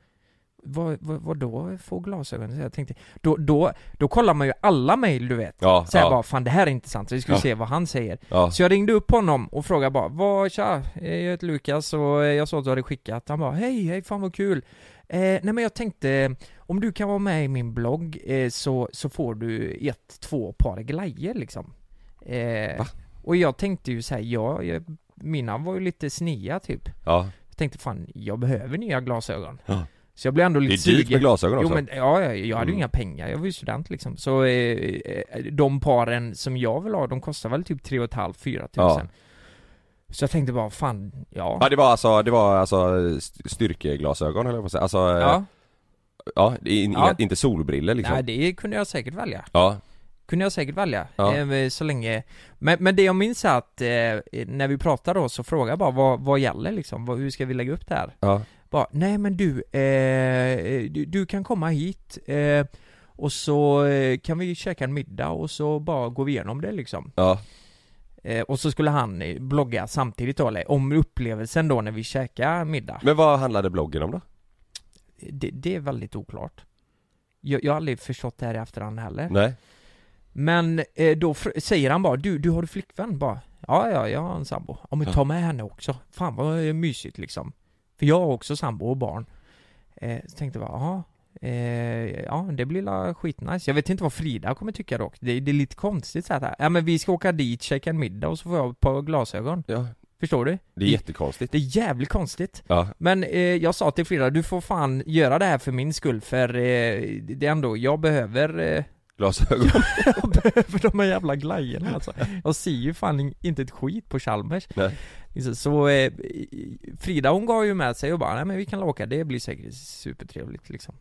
S3: vad, vad, vad då få glasögon? Så jag tänkte, då, då, då kollar man ju alla mejl du vet.
S1: Ja,
S3: Så jag bara,
S1: ja,
S3: fan det här är intressant, vi ska
S1: Ja.
S3: se vad han säger.
S1: ja,
S3: Så jag ringde upp honom och frågade bara Vad, tja, eh, jag heter Lukas och eh, jag såg att du hade skickat Han bara Hej, hej, fan vad kul eh, Nej men jag tänkte Om du kan vara med i min blogg eh, så, så får du ett, två par glajjor liksom eh,
S1: Va?
S3: Och jag tänkte ju såhär, ja, jag, mina var ju lite snia typ
S1: ja.
S3: Jag tänkte fan, jag behöver nya glasögon
S1: Ja.
S3: Så jag blev ändå
S1: Det
S3: lite
S1: är dyrt med
S3: sugen
S1: glasögon också.
S3: Jo men ja, ja, jag hade
S1: Mm.
S3: ju inga pengar, jag var ju student liksom. Så eh, eh, de paren som jag vill ha, de kostar väl typ 3,5-4 tusen.
S1: Ja.
S3: Så jag tänkte bara, fan, ja.
S1: Ja det var alltså, det var alltså st- styrkeglasögon eller vad säga. Alltså, ja,
S3: ja.
S1: ja, det är in,
S3: Ja.
S1: inte solbriller liksom.
S3: Nej, det kunde jag säkert välja.
S1: Ja,
S3: Kunde jag säkert välja.
S1: Ja.
S3: Eh, så länge. Men, men det jag minns är att eh, när vi pratade då så frågade jag bara, vad, vad gäller liksom? Vad, hur ska vi lägga upp det här?
S1: ja,
S3: Bara, nej men du, eh, du, du kan komma hit eh, och så eh, kan vi käka en middag och så bara går vi igenom det liksom.
S1: ja,
S3: Eh, och så skulle han eh, blogga samtidigt då, eller om upplevelsen då när vi käkade middag.
S1: Men vad handlade bloggen om då?
S3: Det, det är väldigt oklart. Jag, jag har aldrig förstått det här i efterhand heller.
S1: Nej?
S3: Men eh, då fr- säger han bara, du, du har du flickvän? Bara, Ja, ja, jag har en sambo. Ja men ta med henne också. Fan vad mysigt liksom. För jag har också sambo och barn. Eh, så tänkte jag bara, jaha. Eh, ja, det blir la skitnice. Jag vet inte vad Frida kommer tycka dock. Det, det är lite konstigt så här. Ja men vi ska åka dit, käka en middag och så får jag ett par glasögon.
S1: Ja,
S3: Förstår du?
S1: det är jättekonstigt.
S3: Det är jävligt konstigt.
S1: Ja,
S3: Men eh, jag sa till Frida, du får fan göra det här för min skull för eh, det är ändå, jag behöver eh,
S1: glasögon.
S3: jag behöver de här jävla glajjorna alltså. Jag ser ju fan in- inte ett skit på Chalmers.
S1: Nej.
S3: Liksom, Så eh, Frida hon gav ju med sig och bara, nej men vi kan åka, det blir säkert supertrevligt liksom.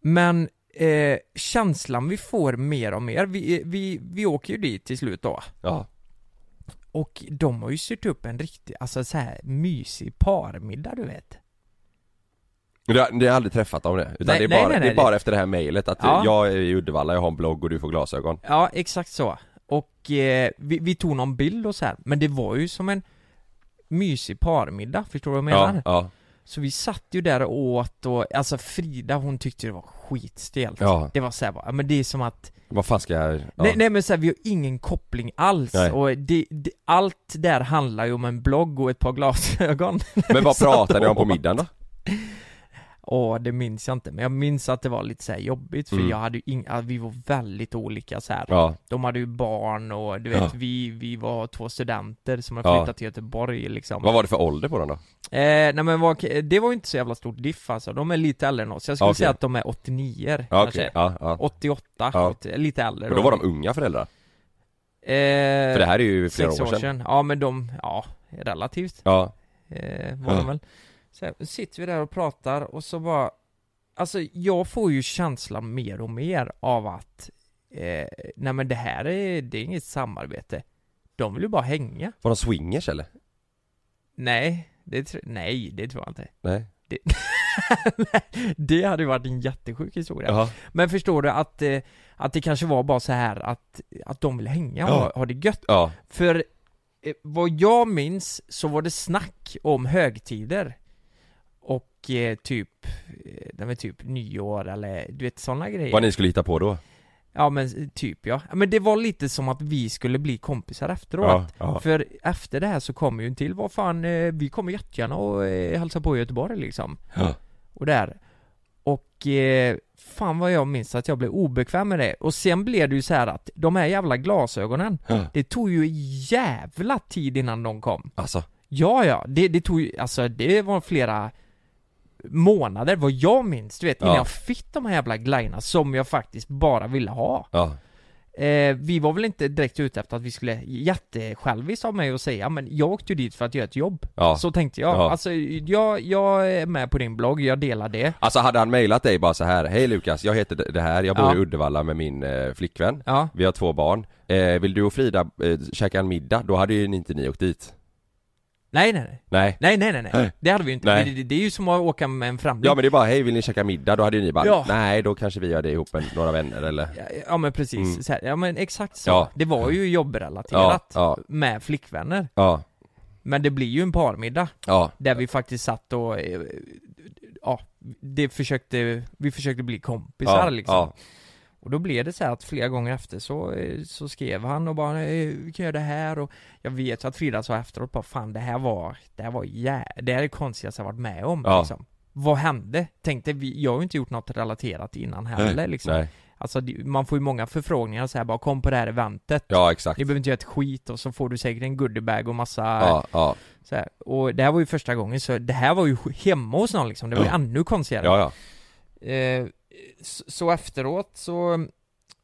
S3: Men eh, känslan vi får mer och mer, vi, eh, vi, vi åker ju dit till slut då.
S1: Ja,
S3: Och de har ju syrt upp en riktig, alltså så här mysig parmiddag du vet.
S1: Men Du har, du har aldrig träffat dem det? Utan
S3: Nej,
S1: det är
S3: nej,
S1: bara,
S3: nej, nej,
S1: det är bara efter det här mejlet att
S3: Ja.
S1: jag är i Uddevalla, jag har en blogg och du får glasögon
S3: Ja, exakt så. Och eh, vi, vi tog någon bild och så här, men det var ju som en mysig parmiddag, förstår du vad jag menar?
S1: Ja, ja,
S3: Så vi satt ju där och åt och, alltså Frida hon tyckte det var skitstelt.
S1: Ja.
S3: Det var såhär bara, ja, men det är som att,
S1: vad fan ska jag... Ja.
S3: nej, nej men såhär vi har ingen koppling alls
S1: Nej.
S3: och det, det, allt där handlar ju om en blogg och ett par glasögon.
S1: Men vad
S3: Vi satt
S1: pratade ni om på
S3: och åt.
S1: middagen då?
S3: Åh, det minns jag inte, men jag minns att det var lite såhär jobbigt för
S1: Mm.
S3: jag hade ju ing, ja, vi var väldigt olika så här.
S1: Ja,
S3: De hade ju barn och du vet,
S1: Ja.
S3: vi, vi var två studenter som hade
S1: Ja.
S3: flyttat till Göteborg liksom
S1: vad var det för ålder på den då?
S3: eh, Nej men vad, det var ju inte så jävla stort diff alltså, de är lite äldre än oss Jag skulle
S1: Okej.
S3: säga att de är 89
S1: Ja,
S3: kanske
S1: okej, ja, ja.
S3: 88,
S1: Ja.
S3: 80, lite äldre
S1: Men då var de unga föräldrar?
S3: eh,
S1: För det här är ju flera år
S3: sex
S1: sedan,
S3: år sedan Ja men de, ja, relativt
S1: Ja,
S3: eh, var
S1: Ja.
S3: de väl så här, sitter vi där och pratar och så bara Alltså jag får ju känslan mer och mer av att eh, Nej men det här är, det är inget samarbete De vill ju bara hänga
S1: var de swingers eller?
S3: Nej, det, tr- nej, det tror jag inte
S1: Nej?
S3: Det hade ju varit en jättesjuk historia
S1: Jaha,
S3: Men förstår du att, eh, att det kanske var bara så här att, att de vill hänga och
S1: Ja.
S3: ha- ha det gött
S1: ja,
S3: För eh, vad jag minns så var det snack om högtider och eh, typ, eh, nej men typ nyår eller du vet sådana grejer
S1: vad ni skulle hitta på då?
S3: Ja men eh, typ ja, men det var lite som att vi skulle bli kompisar efteråt
S1: Ja, ja,
S3: För efter det här så kommer ju en till, vad fan, eh, vi kommer jättegärna och eh, hälsa på i Göteborg liksom
S1: ja,
S3: och där Och eh, fan vad jag minns att jag blev obekväm med det och sen blev det ju så här att de här jävla glasögonen
S1: ja.
S3: Det tog ju jävla tid innan de kom
S1: Alltså,
S3: Ja ja, det, det tog ju, alltså det var flera månader vad jag minns du vet innan
S1: Ja.
S3: jag fick de här jävla glajjorna som jag faktiskt bara ville ha
S1: ja,
S3: Eh, vi var väl inte direkt ute efter att vi skulle, jättesjälviskt av mig att säga, men jag åkte ju dit för att göra ett jobb.
S1: ja
S3: Så tänkte jag.
S1: Ja.
S3: Alltså, jag, jag är med på din blogg, jag delar det.
S1: Alltså hade han mejlat dig bara så här, hej Lukas, jag heter det här, jag bor
S3: Ja.
S1: i Uddevalla med min eh, flickvän
S3: Ja.
S1: Vi har två barn, eh, vill du och Frida eh, käka en middag? Då hade ju inte ni åkt dit
S3: Nej, nej, nej.
S1: Nej
S3: Nej, nej, nej, nej.
S1: Nej.
S3: Det hade vi ju inte.
S1: Nej.
S3: Det, det, det är ju som att åka med en främling.
S1: Ja men det är bara, hej vill ni käka middag? Då hade ju ni bara,
S3: Ja.
S1: nej då kanske vi gör det ihop med några vänner eller
S3: Ja, ja, men precis.
S1: Mm.
S3: Så här, ja, men exakt så.
S1: Ja.
S3: Det var ju jobbrelaterat.
S1: Ja, ja.
S3: Med flickvänner.
S1: Ja,
S3: Men det blir ju en parmiddag.
S1: ja,
S3: Där vi faktiskt satt och, eh, ja, det försökte, vi försökte bli kompisar
S1: ja,
S3: liksom.
S1: ja,
S3: Och då blev det så här att flera gånger efter så, eh, så skrev han och bara eh, vi kan göra det här och jag vet att Frida sa efteråt bara fan det här var, det här var jä... det här är det konstigaste jag varit med om
S1: Ja.
S3: liksom. Vad hände? Tänkte vi, jag har ju inte gjort något relaterat innan heller liksom.
S1: nej,
S3: Alltså det- man får ju många förfrågningar så här bara kom på det här eventet.
S1: ja exakt
S3: Ni behöver inte göra ett skit och så får du säkert en goodiebag och massa
S1: Ja, ja,
S3: så här. Och det här var ju första gången så det här var ju hemma hos någon liksom, det var ju
S1: Ja.
S3: ännu konstigare.
S1: ja, ja,
S3: Eh, så, så efteråt så,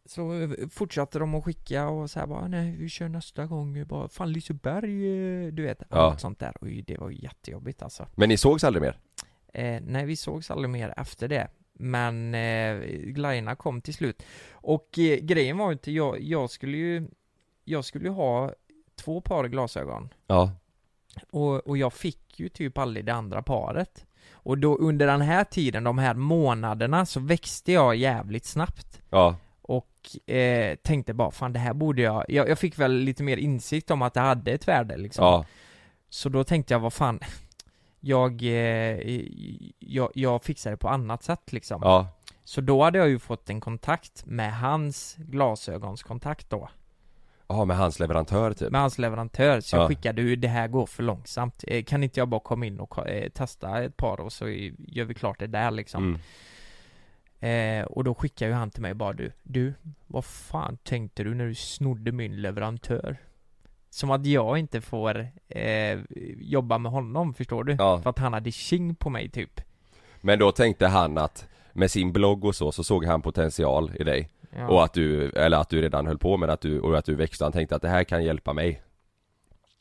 S3: så fortsatte de att skicka och så här bara nej vi kör nästa gång, bara fan Liseberg, eh, du vet,
S1: Ja.
S3: allt sånt där. Oj, det var ju jättejobbigt alltså.
S1: men ni sågs aldrig mer?
S3: Eh, nej, vi sågs aldrig mer efter det. Men eh, glajjorna kom till slut. Och eh, grejen var ju inte, jag, jag skulle ju, jag skulle ju ha två par glasögon.
S1: Ja,
S3: Och, och jag fick ju typ aldrig det andra paret. Och då under den här tiden, de här månaderna, så växte jag jävligt snabbt.
S1: ja,
S3: Och eh, tänkte bara, fan det här borde jag... jag... Jag fick väl lite mer insikt om att det hade ett värde liksom.
S1: ja,
S3: Så då tänkte jag, vad fan, jag, eh, jag, jag fixar det på annat sätt liksom.
S1: ja,
S3: Så då hade jag ju fått en kontakt med hans glasögonskontakt då.
S1: Ja, med hans leverantör typ.
S3: med hans leverantör så jag
S1: Ja.
S3: skickade ju det här går för långsamt Eh, Kan inte jag bara komma in och ko- eh, testa ett par och så i- gör vi klart det där liksom
S1: Mm.
S3: eh, Och då skickar ju han till mig bara du, du Vad fan tänkte du när du snodde min leverantör? Som att jag inte får eh, jobba med honom förstår du?
S1: Ja.
S3: För att han hade tjing på mig typ
S1: Men då tänkte han att med sin blogg och så, så såg han potential i dig.
S3: ja.
S1: Och att du, eller att du redan höll på med att du, och att du växte. Han tänkte att det här kan hjälpa mig.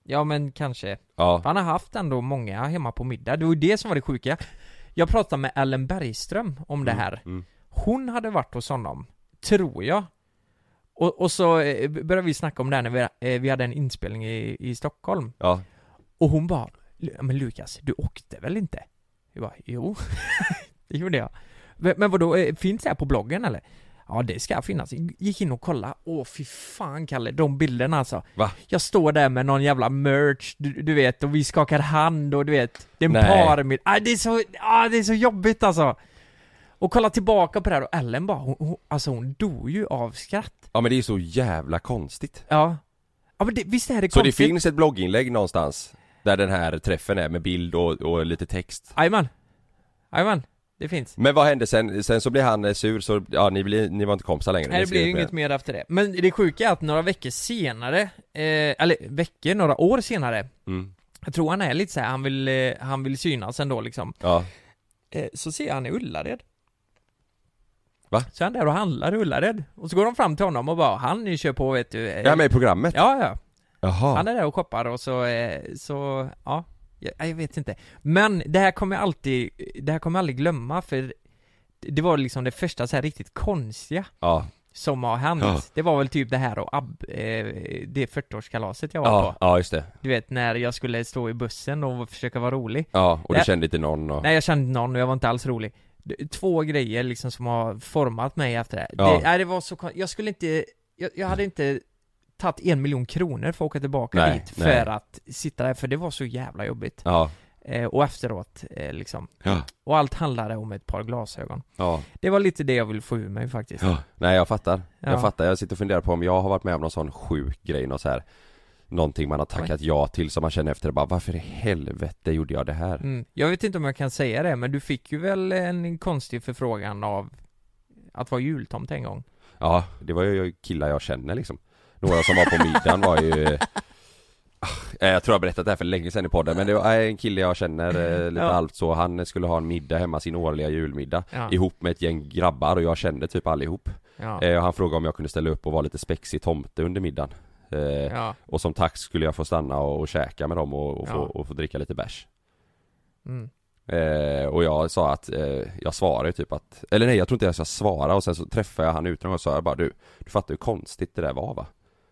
S3: ja men kanske
S1: Ja,
S3: Han har haft ändå många hemma på middag, det var ju det som var det sjuka Jag pratade med Ellen Bergström om det här
S1: mm.
S3: Hon hade varit hos honom, tror jag Och, och så eh, började vi snacka om det här när vi, eh, vi hade en inspelning i, i Stockholm
S1: ja.
S3: Och hon bara "Lu- Men Lukas, du åkte väl inte? Jag bara, jo Det gjorde jag Men, men vadå, eh, finns det här på bloggen eller? Ja det ska finnas, gick in och kolla, åh fy fan Kalle, de bilderna alltså
S1: Va?
S3: Jag står där med någon jävla merch, du, du vet, och vi skakar hand och du vet Det är en
S1: Nej.
S3: parmiddag, ah, det är så, ah, det är så jobbigt alltså Och kolla tillbaka på det här och Ellen bara, hon, hon, alltså hon dog ju av skratt
S1: Ja men det är så jävla konstigt.
S3: Ja Ja men det, visst är det
S1: Så det
S3: konstigt?
S1: finns ett blogginlägg någonstans där den här träffen är med bild och, och lite text.
S3: Jajamän Jajamän, det finns
S1: Men vad hände sen? Sen så blev han eh, sur så, ja ni, blir, ni var inte kompisar längre.
S3: Nej
S1: Ni
S3: det
S1: skrev
S3: blir ju
S1: inte
S3: inget mer efter det. Men det sjuka är att några veckor senare, eh, eller veckor, några år senare
S1: Mm.
S3: Jag tror han är lite såhär, han vill, eh, han vill synas ändå liksom
S1: Ja,
S3: eh, Så ser jag han i Ullared
S1: Va?
S3: Så är han där och handlar i Ullared Och så går de fram till honom och bara, han ni kör på vet du eh,
S1: jag är med i programmet.
S3: Ja ja,
S1: Jaha.
S3: han är där och shoppar och så, eh, så, ja jag, jag vet inte Men det här kommer jag alltid, det här kommer jag aldrig glömma för Det var liksom det första så här riktigt konstiga
S1: Ja,
S3: som har hänt.
S1: Ja.
S3: Det var väl typ det här och Ab, eh, det 40-årskalaset jag var
S1: ja,
S3: på.
S1: ja just det.
S3: Du vet när jag skulle stå i bussen och försöka vara rolig.
S1: Ja, och du
S3: Nej.
S1: kände inte någon och...
S3: Nej jag kände någon och jag var inte alls rolig. D- Två grejer liksom som har format mig efter det.
S1: Ja.
S3: det nej, det var så kon- Jag skulle inte, jag, jag hade inte tagit en miljon kronor för att åka tillbaka
S1: Nej,
S3: dit för
S1: nej.
S3: att sitta där, för det var så jävla jobbigt.
S1: Ja,
S3: Eh, och efteråt eh, liksom.
S1: Ja.
S3: Och allt handlade om ett par glasögon.
S1: ja.
S3: Det var lite det jag ville få ur mig faktiskt.
S1: Ja, nej jag fattar.
S3: Ja.
S1: Jag fattar, jag sitter och funderar på om jag har varit med om någon sån sjuk grej, någon så här Någonting man har tackat ja till som man känner efter det bara, varför i helvete gjorde jag det här?
S3: Mm. Jag vet inte om jag kan säga det, men du fick ju väl en konstig förfrågan av att vara jultomte en gång?
S1: Ja, det var ju killar jag känner liksom Några som var på middagen var ju eh, ah, Jag tror jag har berättat det här för länge sedan i podden men det var eh, en kille jag känner eh, lite
S3: Ja.
S1: halvt så, han skulle ha en middag hemma, sin årliga julmiddag
S3: Ja.
S1: Ihop med ett gäng grabbar och jag kände typ allihop
S3: Ja.
S1: eh, och Han frågade om jag kunde ställa upp och vara lite spexig tomte under middagen eh,
S3: ja.
S1: Och som tack skulle jag få stanna och, och käka med dem och, och, få,
S3: Ja.
S1: och få dricka lite bärs
S3: Mm.
S1: eh, Och jag sa att, eh, jag svarade ju typ att Eller nej jag tror inte ens jag svarade och sen så träffade jag han utan och sa jag bara du Du fattar hur konstigt det där var va?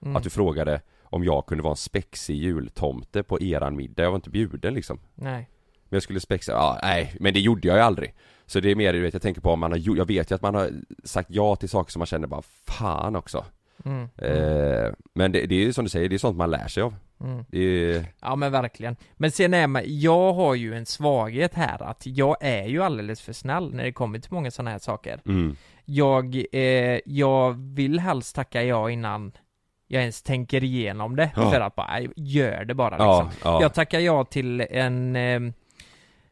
S3: Mm.
S1: Att du frågade om jag kunde vara en spexig jultomte på eran middag, jag var inte bjuden liksom
S3: Nej.
S1: men jag skulle spexa, ja, nej, men det gjorde jag ju aldrig Så det är mer, du vet, jag tänker på om man har gjort, jag vet ju att man har sagt ja till saker som man känner bara fan också
S3: Mm.
S1: eh, Men det, det är ju som du säger, det är sånt man lär sig av
S3: Mm.
S1: Det är,
S3: Ja men verkligen. Men sen är man, jag har ju en svaghet här att jag är ju alldeles för snäll när det kommer till många sådana här saker.
S1: mm.
S3: Jag, eh, jag vill helst tacka ja innan jag ens tänker igenom det.
S1: Ja.
S3: För att bara, "Nej, gör det bara liksom.
S1: Ja, ja,
S3: Jag tackar ja till en eh,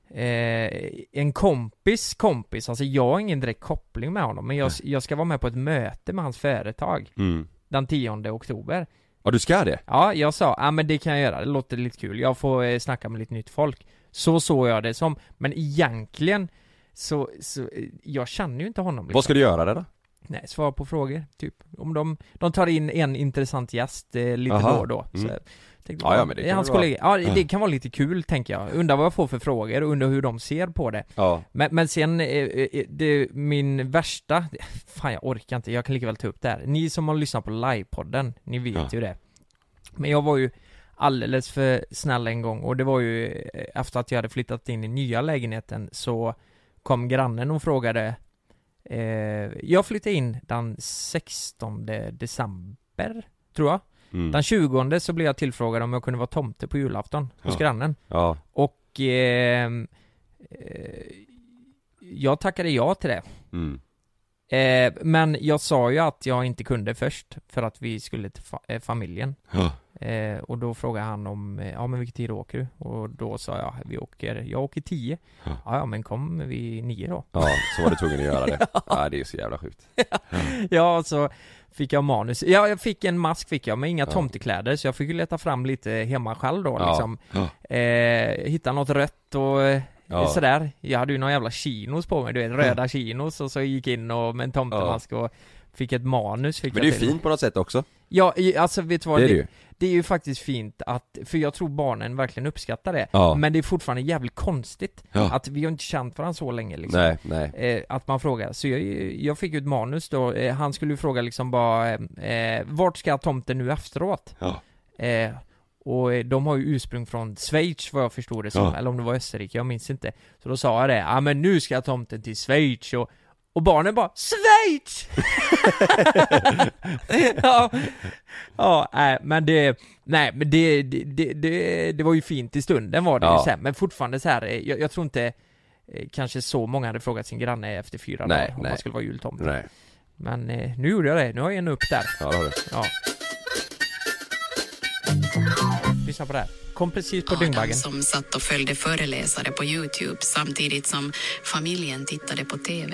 S3: eh, en kompis kompis, alltså jag har ingen direkt koppling med honom men jag, jag ska vara med på ett möte med hans företag
S1: mm.
S3: den 10 oktober
S1: ja du ska det?
S3: Ja, jag sa, ja ah, men det kan jag göra, det låter lite kul, jag får eh, snacka med lite nytt folk Så såg jag det som, men egentligen så, så eh, jag känner ju inte honom liksom.
S1: Vad ska du göra där då?
S3: Nej, svara på frågor, typ. Om de, de tar in en intressant gäst eh, lite
S1: Aha.
S3: då och då. Så
S1: Mm.
S3: jag tänkte, eh,
S1: Ja, ja, men det kan
S3: hans
S1: väl vara-
S3: kollega, ja, det kan vara lite kul, tänker jag. Undrar vad jag får för frågor och undrar hur de ser på det.
S1: Ja,
S3: Men, men sen, eh, eh, det, min värsta, fan jag orkar inte, jag kan lika väl ta upp det här. Ni som har lyssnat på livepodden, ni vet
S1: Ja.
S3: ju det. Men jag var ju alldeles för snäll en gång och det var ju eh, efter att jag hade flyttat in i nya lägenheten så kom grannen och frågade eh, Jag flyttade in den 16 december, tror jag.
S1: mm.
S3: Den 20 så blev jag tillfrågad om jag kunde vara tomte på julafton hos
S1: Ja.
S3: grannen.
S1: ja,
S3: Och ehm, eh, eh, jag tackade ja till det.
S1: mm.
S3: Eh, men jag sa ju att jag inte kunde först, för att vi skulle till fa- eh, familjen.
S1: Ja.
S3: Eh, och då frågade han om, eh, ja men vilken tid åker du? Och då sa jag, vi åker, jag åker 10.
S1: Ja.
S3: Ja, ja men kom vi 9 då.
S1: Ja, så var du tvungen att göra det. Ja, det är så jävla sjukt.
S3: Ja, så fick jag manus. Ja, jag fick en mask fick jag, men inga
S1: Ja.
S3: tomtekläder, så jag fick ju leta fram lite hemma själv då
S1: Ja.
S3: liksom. Eh, hitta något rött och eh,
S1: Ja.
S3: sådär. Jag hade ju några jävla chinos på mig, du vet, röda chinos och så gick in och med en tomtemask och fick ett manus fick
S1: Men det är
S3: jag
S1: ju
S3: till.
S1: fint på något sätt också.
S3: Ja, i- alltså vet du vad?
S1: Det är det ju.
S3: det är ju faktiskt fint att, för jag tror barnen verkligen uppskattar det.
S1: Ja.
S3: Men det är fortfarande jävligt konstigt
S1: Ja.
S3: att vi har inte känt varandra så länge liksom.
S1: Nej, nej.
S3: Eh, att man frågar. Så jag, jag fick ju ett manus då, eh, han skulle ju fråga liksom bara eh, eh, Vart ska tomten nu efteråt?
S1: Ja.
S3: Eh, och eh, de har ju ursprung från Schweiz vad jag förstod det som,
S1: Ja.
S3: eller om det var Österrike, jag minns inte. Så då sa jag det, ja ah, men nu ska tomten till Schweiz och, och barnen bara Schweiz! ja, ja nej, men det, nej men det, det, det, det, det var ju fint i stunden var det
S1: Ja.
S3: ju sen, men fortfarande så här, eh, jag, jag tror inte eh, kanske så många hade frågat sin granne efter fyra
S1: Nej,
S3: dagar om
S1: nej.
S3: man skulle vara jultomte.
S1: Nej.
S3: Men eh, nu gjorde jag det, nu har jag en upp där.
S1: Ja, det har du.
S3: Ja. Lyssna på det här. Kom precis på
S7: Adam
S3: dyngbaggen.
S7: som satt och följde föreläsare på Youtube samtidigt som familjen tittade på TV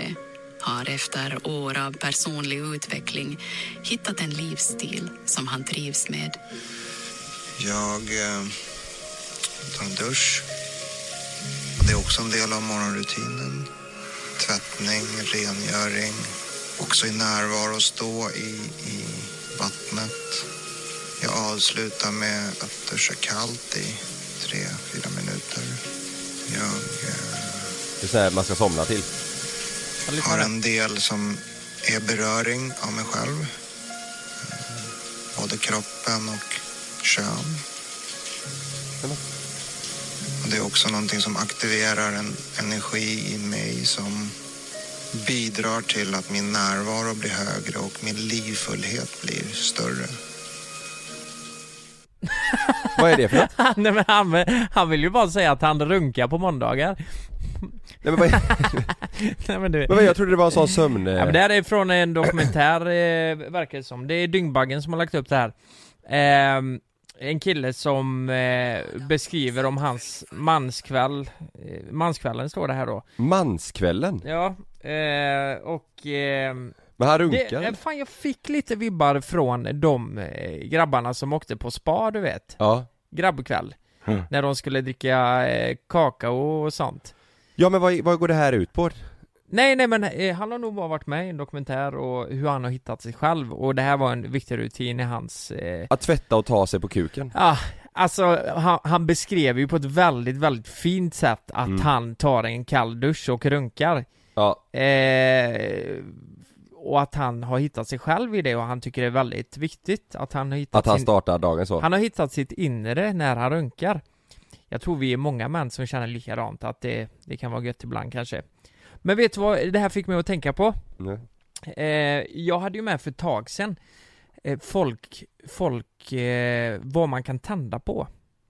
S7: har efter år av personlig utveckling hittat en livsstil som han trivs med.
S8: Jag eh, tar en dusch. Det är också en del av morgonrutinen. Tvättning, rengöring. Också i närvaro, stå i, i vattnet. Jag avslutar med att duscha kallt i tre, fyra minuter. Jag eh,
S1: Det är så här man ska somna till.
S3: Ja, lyssna på
S8: har
S3: det.
S8: en del som är beröring av mig själv. Eh, Både kroppen och kön. Och det är också någonting som aktiverar en energi i mig som bidrar till att min närvaro blir högre och min livfullhet blir större.
S1: Vad är det för något?
S3: Nej, men han, han vill ju bara säga att han runkar på måndagar.
S1: Nej, men vad,
S3: Nej, men du...
S1: men vad, jag trodde det var en sån sömn... eh,
S3: Ja, men det här är från en dokumentär, eh, verkar det som. Det är Dyngbaggen som har lagt upp det här. Ehm, en kille som eh, beskriver om hans manskväll, eh, manskvällen står det här då.
S1: Manskvällen?
S3: Ja, eh, och... ehm,
S1: Men han
S3: det,
S1: runkar?
S3: eh, fan jag fick lite vibbar från de eh, grabbarna som åkte på spa, du vet.
S1: Ja.
S3: Grabbkväll. När de skulle dricka eh, kakao och sånt.
S1: Ja, men vad, vad går det här ut på?
S3: Nej, nej men eh, han har nog bara varit med i en dokumentär och hur han har hittat sig själv och det här var en viktig rutin i hans... Eh...
S1: Att tvätta och ta sig på kuken?
S3: Ah, alltså han, han beskrev ju på ett väldigt, väldigt fint sätt att
S1: Mm.
S3: han tar en kall dusch och runkar.
S1: Ja.
S3: Eh... Och att han har hittat sig själv i det och han tycker det är väldigt viktigt att han har hittat
S1: Att han
S3: sin...
S1: startar dagen så?
S3: Han har hittat sitt inre när han runkar. Jag tror vi är många män som känner likadant, att det, det kan vara gött ibland kanske. Men vet du vad det här fick mig att tänka på?
S1: Nej.
S3: Eh, jag hade ju med för ett tag sedan eh, folk, folk, eh, vad man kan tända på.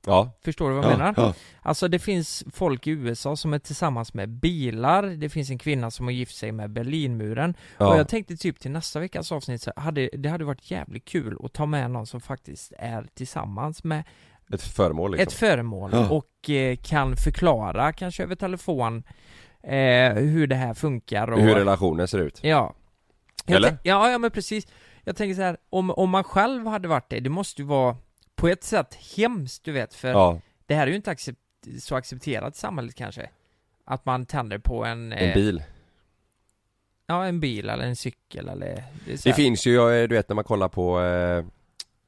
S1: Ja.
S3: Förstår du vad jag menar? Alltså det finns folk i USA som är tillsammans med bilar, det finns en kvinna som har gift sig med Berlinmuren. Och jag tänkte typ till nästa veckas avsnitt så hade, det hade varit jävligt kul att ta med någon som faktiskt är tillsammans med
S1: Ett föremål liksom.
S3: ett föremål
S1: Ja.
S3: och eh, kan förklara kanske över telefon eh, hur det här funkar och
S1: Hur relationen ser ut.
S3: Ja. Jag
S1: Eller?
S3: tän- Ja, ja men precis. Jag tänker så här, om, om man själv hade varit det, det måste ju vara på ett sätt hemskt du vet, för
S1: Ja,
S3: det här är ju inte accep- så accepterat i samhället kanske. Att man tänder på en, eh,
S1: en bil.
S3: Ja, en bil eller en cykel eller... Det är
S1: Det
S3: så här.
S1: finns ju, eh, du vet när man kollar på eh,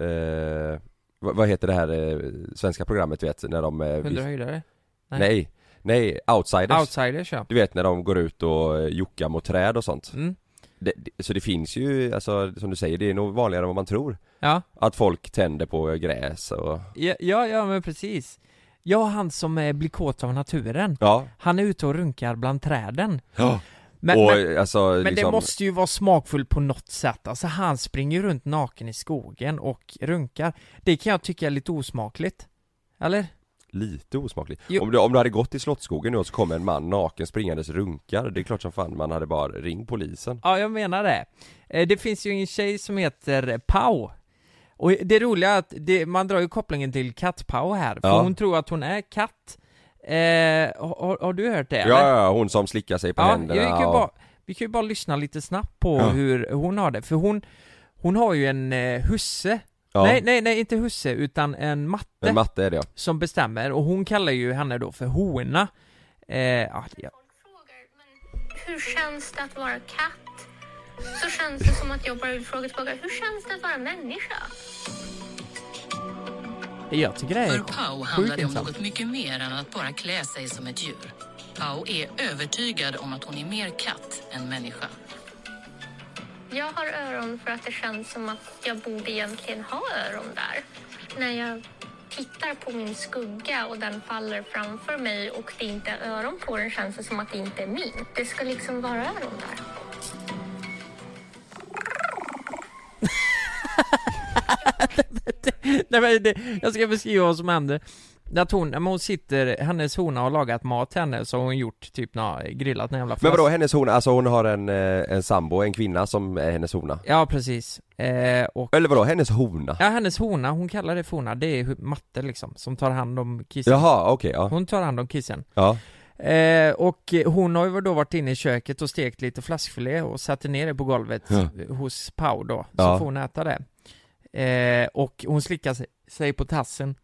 S1: eh, vad vad heter det här eh, svenska programmet vet när de eh,
S3: Hundra höjdare.
S1: nej. nej, nej, outsiders
S3: Outsiders ja.
S1: Du vet när de går ut och eh, jockar mot träd och sånt
S3: Mm.
S1: det, det, Så det finns ju, alltså som du säger, det är nog vanligare än vad man tror
S3: Ja.
S1: Att folk tänder på gräs och
S3: ja, ja, ja men precis. Jag och han som eh, blir kåt av naturen.
S1: Ja,
S3: Han är ute och runkar bland träden.
S1: ja.
S3: Men,
S1: och
S3: men,
S1: alltså
S3: men
S1: liksom,
S3: det måste ju vara smakfullt på något sätt. Alltså han springer runt naken i skogen och runkar. Det kan jag tycka är lite osmakligt. Eller?
S1: lite osmakligt.
S3: Jo.
S1: Om du, om du hade gått i Slottsskogen nu och så kom en man naken springandes runkar, det är klart som fan man hade bara ring polisen.
S3: Ja, jag menar det. Eh, Det finns ju en tjej som heter Pau. Och det roliga är att det, man drar ju kopplingen till katt-Pau här, för
S1: Ja.
S3: hon tror att hon är katt. Eh, har, har du hört det?
S1: Ja,
S3: eller?
S1: ja, ja, hon som slickar sig på
S3: ja,
S1: händerna
S3: vi kan ju
S1: och-
S3: bara, vi kan ju bara lyssna lite snabbt på
S1: Ja.
S3: hur hon har det, för hon, hon har ju en eh, husse.
S1: ja,
S3: Nej, nej, nej, inte husse, utan en matte
S1: Men matte är det ja.
S3: som bestämmer, och hon kallar ju henne då för hona. Eh, ja, ja.
S9: Hur känns det att vara katt? Så känns det som att jag bara vill fråga tillbaka. Hur känns det att vara människa?
S3: Jag tycker det
S7: För
S3: är
S7: Pau
S3: sjukt
S7: handlar det om
S3: intressant.
S7: något mycket mer än att bara klä sig som ett djur. Pau är övertygad om att hon är mer katt än människa.
S9: Jag har öron för att det känns som att jag borde egentligen ha öron där. När jag tittar på min skugga och den faller framför mig och det inte är öron på den känns det som att det inte är min. Det ska liksom vara öron där.
S3: Nej, men det, jag ska beskriva vad som hände. Att hon, men hon sitter, hennes hona har lagat mat till henne, så har hon gjort typ nå, grillat en jävla
S1: Men
S3: fläsk.
S1: vadå hennes hona, alltså hon har en, eh, en sambo, en kvinna som är hennes hona?
S3: Ja, precis. Eh, och,
S1: Eller vadå, hennes hona?
S3: ja, hennes hona, hon kallar det för hona, det är hu- matte liksom, som tar hand om kissen.
S1: Jaha, okej, ja.
S3: Hon tar hand om kissen.
S1: ja.
S3: Eh, och hon har ju då varit inne i köket och stekt lite flaskfilé och satte ner det på golvet
S1: Ja.
S3: hos Pau då, så
S1: Ja.
S3: får hon äta det. Eh, och hon slickar sig- sig på tassen,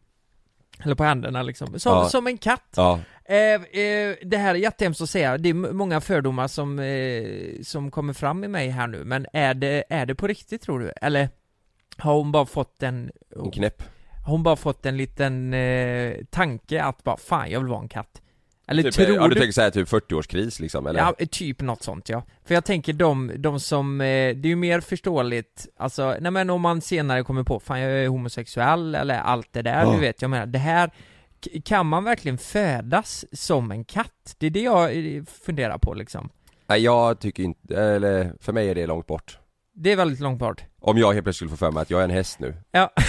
S3: eller på händerna liksom, som,
S1: Ja.
S3: som en katt.
S1: Ja,
S3: Eh, eh, det här är jättehemskt att säga, det är m- många fördomar som, eh, som kommer fram i mig här nu, men är det, är det på riktigt tror du? Eller har hon bara fått en,
S1: en knäpp.
S3: har hon bara fått en liten eh, tanke att bara fan jag vill vara en katt? Eller
S1: Typ,
S3: tror
S1: ja, du
S3: du?
S1: tänker såhär typ 40-årskris liksom eller?
S3: Ja, eh, typ något sånt ja. För jag tänker de, de som, eh, det är ju mer förståeligt, alltså, nej men om man senare kommer på, fan jag är homosexuell eller allt det där,
S1: Ja.
S3: du vet, jag menar det här, k- kan man verkligen födas som en katt? Det är det jag eh, funderar på liksom.
S1: Nej jag tycker inte, eller för mig är det långt bort.
S3: Det är väldigt långt bort.
S1: Om jag helt plötsligt skulle få för mig att jag är en häst nu.
S3: Ja.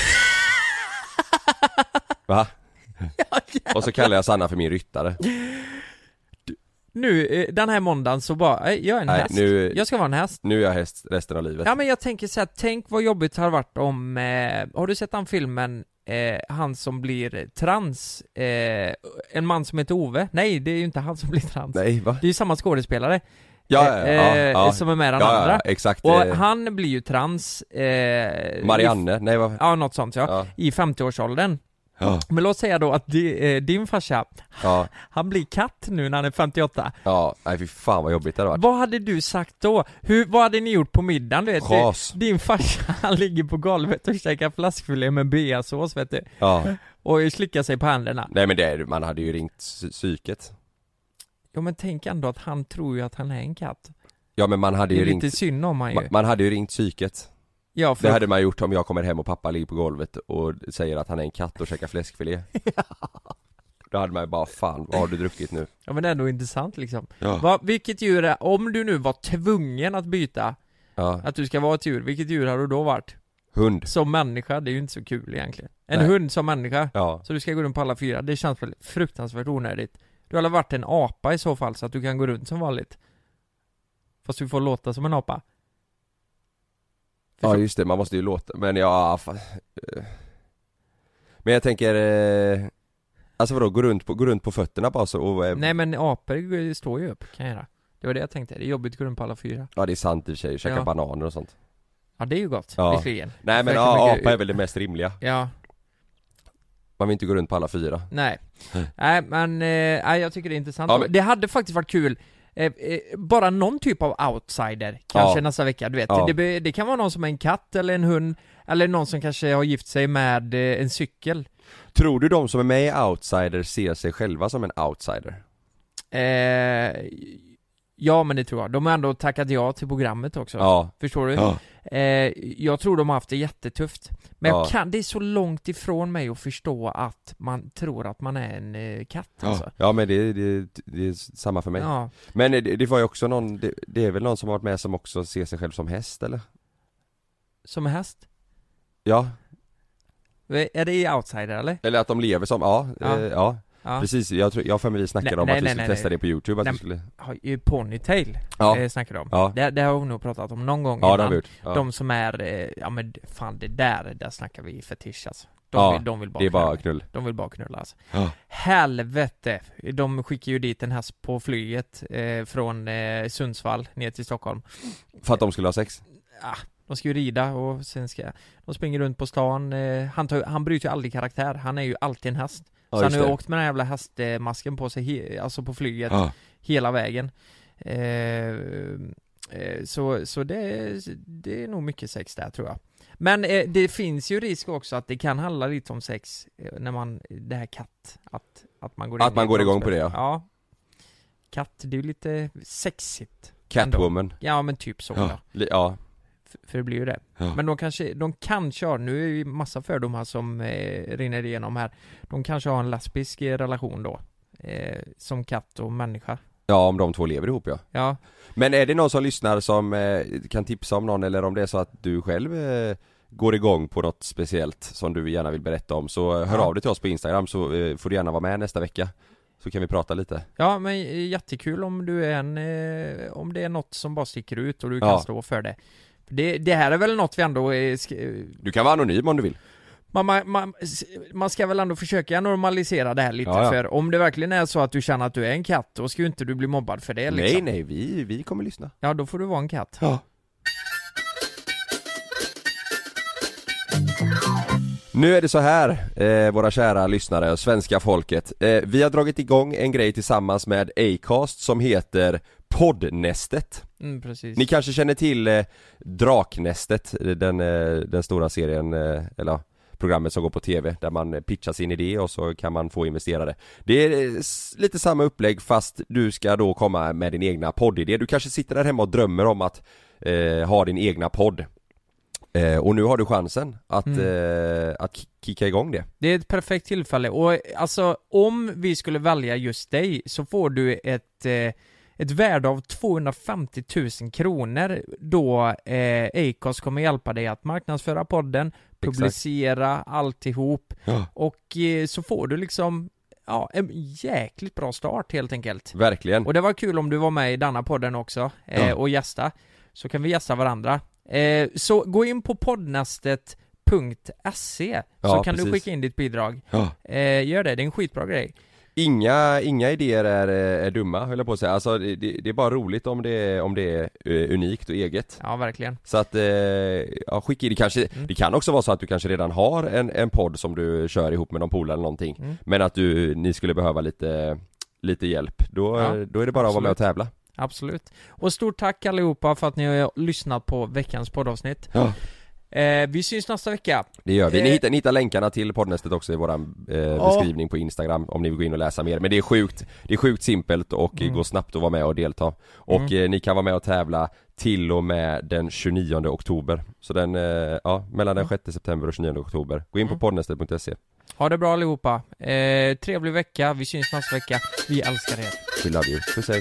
S1: Va? Och så kallar jag Sanna för min ryttare.
S3: Nu, eh, den här måndagen så bara, eh, jag är en
S1: Nej,
S3: häst.
S1: nu-
S3: Jag ska vara en häst.
S1: Nu är jag häst resten av livet.
S3: Ja men jag tänker så här, tänk vad jobbigt det har varit om, eh, har du sett den filmen, eh, han som blir trans, eh, en man som heter Ove? Nej, det är ju inte han som blir trans.
S1: Nej va?
S3: Det är ju samma skådespelare,
S1: Ja, ja, ja,
S3: eh,
S1: ja.
S3: som är med den
S1: ja,
S3: andra.
S1: ja, exakt.
S3: Och
S1: eh,
S3: han blir ju trans, eh, i-
S1: Marianne, nej vad?
S3: Ja, något sånt ja.
S1: Ja.
S3: I 50-årsåldern.
S1: Ja.
S3: Men låt säga då att di, eh, din farsa,
S1: Ja,
S3: han blir katt nu när han är 58.
S1: ja, nej fy fan vad jobbigt det hade varit.
S3: Vad hade du sagt då? Hur, vad hade ni gjort på middagen? Du vet, det-
S1: Ras.
S3: din farsa han ligger på golvet och käkar flaskfilé med beasås vet du
S1: Ja.
S3: Och slickar sig på händerna
S1: Nej men det, är- man hade ju ringt psy- psyket.
S3: Jo men tänk ändå att han tror ju att han är en katt
S1: Ja men man hade
S3: Det är
S1: ju
S3: ju
S1: ringt,
S3: lite synd om han ju
S1: ma- man hade ju ringt psyket.
S3: Ja för
S1: Det hade man gjort om jag kommer hem och pappa ligger på golvet och säger att han är en katt och käkar fläskfilé. Då hade man ju bara, fan vad har du druckit nu?
S3: ja, men det är ändå intressant liksom Va, Vilket djur är, om du nu var tvungen att byta
S1: Ja.
S3: Att du ska vara ett djur, vilket djur har du då varit?
S1: Hund.
S3: Som människa, det är ju inte så kul egentligen En
S1: Nej.
S3: hund som människa
S1: Ja.
S3: Så du ska gå runt på alla fyra, det känns väl fruktansvärt onödigt Du har väl varit en apa i så fall så att du kan gå runt som vanligt Fast du får låta som en apa
S1: Ja just det, man måste ju låta, men ja, fan. Eh. Men jag tänker, eh, alltså vadå, gå runt på, gå runt på fötterna bara så och, eh,
S3: Nej men apor g- står ju upp, kan jag göra Det var det jag tänkte, det är jobbigt att gå runt på alla fyra
S1: ja det är sant i och för sig, käka
S3: Ja.
S1: bananer och sånt.
S3: Ja det är ju gott,
S1: Ja.
S3: visserligen
S1: Nej men
S3: Verkar
S1: ja,
S3: mycket-
S1: apa är väl det mest rimliga.
S3: Ja,
S1: Man vill inte gå runt på alla fyra.
S3: nej Nej men, eh, nej, jag tycker det är intressant
S1: Ja, men-
S3: Det hade faktiskt varit kul eh, eh, bara någon typ av outsider, kanske
S1: Ja. nästa
S3: nästa vecka, du vet.
S1: Ja.
S3: Det, be- det kan vara någon som är en katt eller en hund, eller någon som kanske har gift sig med eh, en cykel.
S1: Tror du de som är med i Outsider ser sig själva som en outsider?
S3: Eh, ja men det tror jag. De har ändå tackat ja till programmet också.
S1: Ja.
S3: Förstår du?
S1: Ja.
S3: Eh, jag tror de har haft det jättetufft. Men
S1: Ja.
S3: jag kan, det är så långt ifrån mig att förstå att man tror att man är en eh, katt alltså.
S1: Ja men det, det, det är samma för mig.
S3: Ja.
S1: Men det, det var ju också någon, det, det är väl någon som har varit med som också ser sig själv som häst eller?
S3: Som häst.
S1: Ja,
S3: Eh, Är det i Outsider eller?
S1: Eller att de lever som, ja,
S3: Ja.
S1: ja, eh, ja.
S3: Ja.
S1: precis, jag tror, jag har för mig vi snackade
S3: Nej,
S1: om
S3: nej,
S1: att vi
S3: nej,
S1: skulle
S3: nej,
S1: testa
S3: nej.
S1: det på youtube, att
S3: Nej,
S1: vi skulle,
S3: Har ju Ponytail,
S1: ja,
S3: eh, snackar de om.
S1: Ja.
S3: Det, det har vi nog pratat om någon gång
S1: ja det har
S3: innan.
S1: vi gjort ja.
S3: De som är, eh, ja men fan det där, där snackar vi fetisch alltså. De,
S1: Ja,
S3: vill, de vill bara
S1: Det är bara
S3: knulla.
S1: knull,
S3: De vill bara knulla alltså.
S1: Ja.
S3: Helvete! De skickar ju dit en häst på flyget eh, från eh, Sundsvall ner till Stockholm.
S1: för att de skulle ha sex?
S3: Ah, de ska ju rida och sen ska de springer runt på stan. Eh, han, tar, ju- han bryter ju aldrig karaktär, han är ju alltid en häst.
S1: Ja,
S3: så han
S1: just
S3: har ju
S1: det.
S3: åkt med den här jävla hästmasken på sig, he, alltså på flyget,
S1: Ja.
S3: hela vägen. Eh, eh, så så det, det är nog mycket sex där tror jag. Men eh, det finns ju risk också att det kan handla lite om sex eh, när man, det här katt, att, att man går
S1: Att
S3: in i
S1: man
S3: ett
S1: går igång
S3: rollspel.
S1: på det, ja.
S3: ja. Katt, det är ju lite sexigt.
S1: Catwoman
S3: Ja men typ så ja.
S1: Ja, li- ja,
S3: F- För det blir ju det.
S1: Ja.
S3: Men de kanske, de kanske har, nu är ju massa fördomar som eh, rinner igenom här. De kanske har en lesbisk eh, relation då. Eh, som katt och människa.
S1: ja om de två lever ihop ja
S3: Ja,
S1: Men är det någon som lyssnar som eh, kan tipsa om någon eller om det är så att du själv eh, går igång på något speciellt som du gärna vill berätta om så eh, hör
S3: Ja.
S1: av dig till oss på Instagram så eh, får du gärna vara med nästa vecka Så kan vi prata lite
S3: ja men eh, jättekul om du är en, eh, om det är något som bara sticker ut och du kan
S1: Ja.
S3: stå för det. För Det, det här är väl något vi ändå, eh, sk- eh,
S1: Du kan vara anonym om du vill
S3: man, man, man, s- man ska väl ändå försöka normalisera det här lite
S1: Ja, ja.
S3: för om det verkligen är så att du känner att du är en katt, då ska ju inte du bli mobbad för det liksom.
S1: Nej nej, vi, vi kommer lyssna
S3: Ja, då får du vara en katt.
S1: Ja. Nu är det så här, eh, våra kära lyssnare och svenska folket. Eh, vi har dragit igång en grej tillsammans med Acast som heter Poddnästet.
S3: Mm, precis.
S1: Ni kanske känner till eh, Draknästet, eh, den, eh, den stora serien, eh, eller ja, programmet som går på TV där man eh, pitchar sin idé och så kan man få investerare. Det är eh, s- lite samma upplägg fast du ska då komma med din egna poddidé. Du kanske sitter där hemma och drömmer om att eh, ha din egna podd. Eh, och nu har du chansen att, eh, att ki- kicka igång det.
S3: Det är ett perfekt tillfälle och eh, alltså om vi skulle välja just dig så får du ett, eh, ett värde av 250 000 kronor då eh, Acast kommer hjälpa dig att marknadsföra podden, publicera alltihop
S1: Ja.
S3: och eh, så får du liksom ja, en jäkligt bra start helt enkelt.
S1: Verkligen.
S3: Och det var kul om du var med i denna podden också eh,
S1: Mm. Ja.
S3: och gästa. Så kan vi gästa varandra. Eh, så gå in på poddnastet.se så
S1: Ja,
S3: kan du
S1: precis.
S3: skicka in ditt bidrag.
S1: Ja.
S3: Eh, gör det, det är en skitbra grej.
S1: Inga, inga idéer är, eh, är dumma höll jag på att säga. Alltså det, det det är bara roligt om det, är- om det är eh, unikt och eget.
S3: Ja, verkligen.
S1: Så att, eh, ja, skicka in, det kanske,
S3: Mm.
S1: det kan också vara så att du kanske redan har en, en podd som du kör ihop med någon polare eller någonting
S3: Mm.
S1: Men att du, ni skulle behöva lite, lite hjälp, då,
S3: Ja,
S1: då är det bara att vara med och tävla
S3: Absolut. Och stort tack allihopa för att ni har lyssnat på veckans poddavsnitt.
S1: Ja.
S3: Eh, vi syns nästa vecka.
S1: Det gör vi, ni
S3: Eh.
S1: hittar, ni hittar länkarna till poddnästet också i våran eh, beskrivning på instagram om ni vill gå in och läsa mer Men det är sjukt, det är sjukt simpelt och mm. går snabbt att vara med och delta Och
S3: Mm.
S1: eh, ni kan vara med och tävla till och med den 29 oktober Så den, eh, ja, mellan den 6 september och 29 oktober Gå
S3: Mm.
S1: in på poddnästet.se,
S3: Ha det bra allihopa. Eh, trevlig vecka, vi syns nästa vecka. Vi älskar er.
S1: we love you, puss hej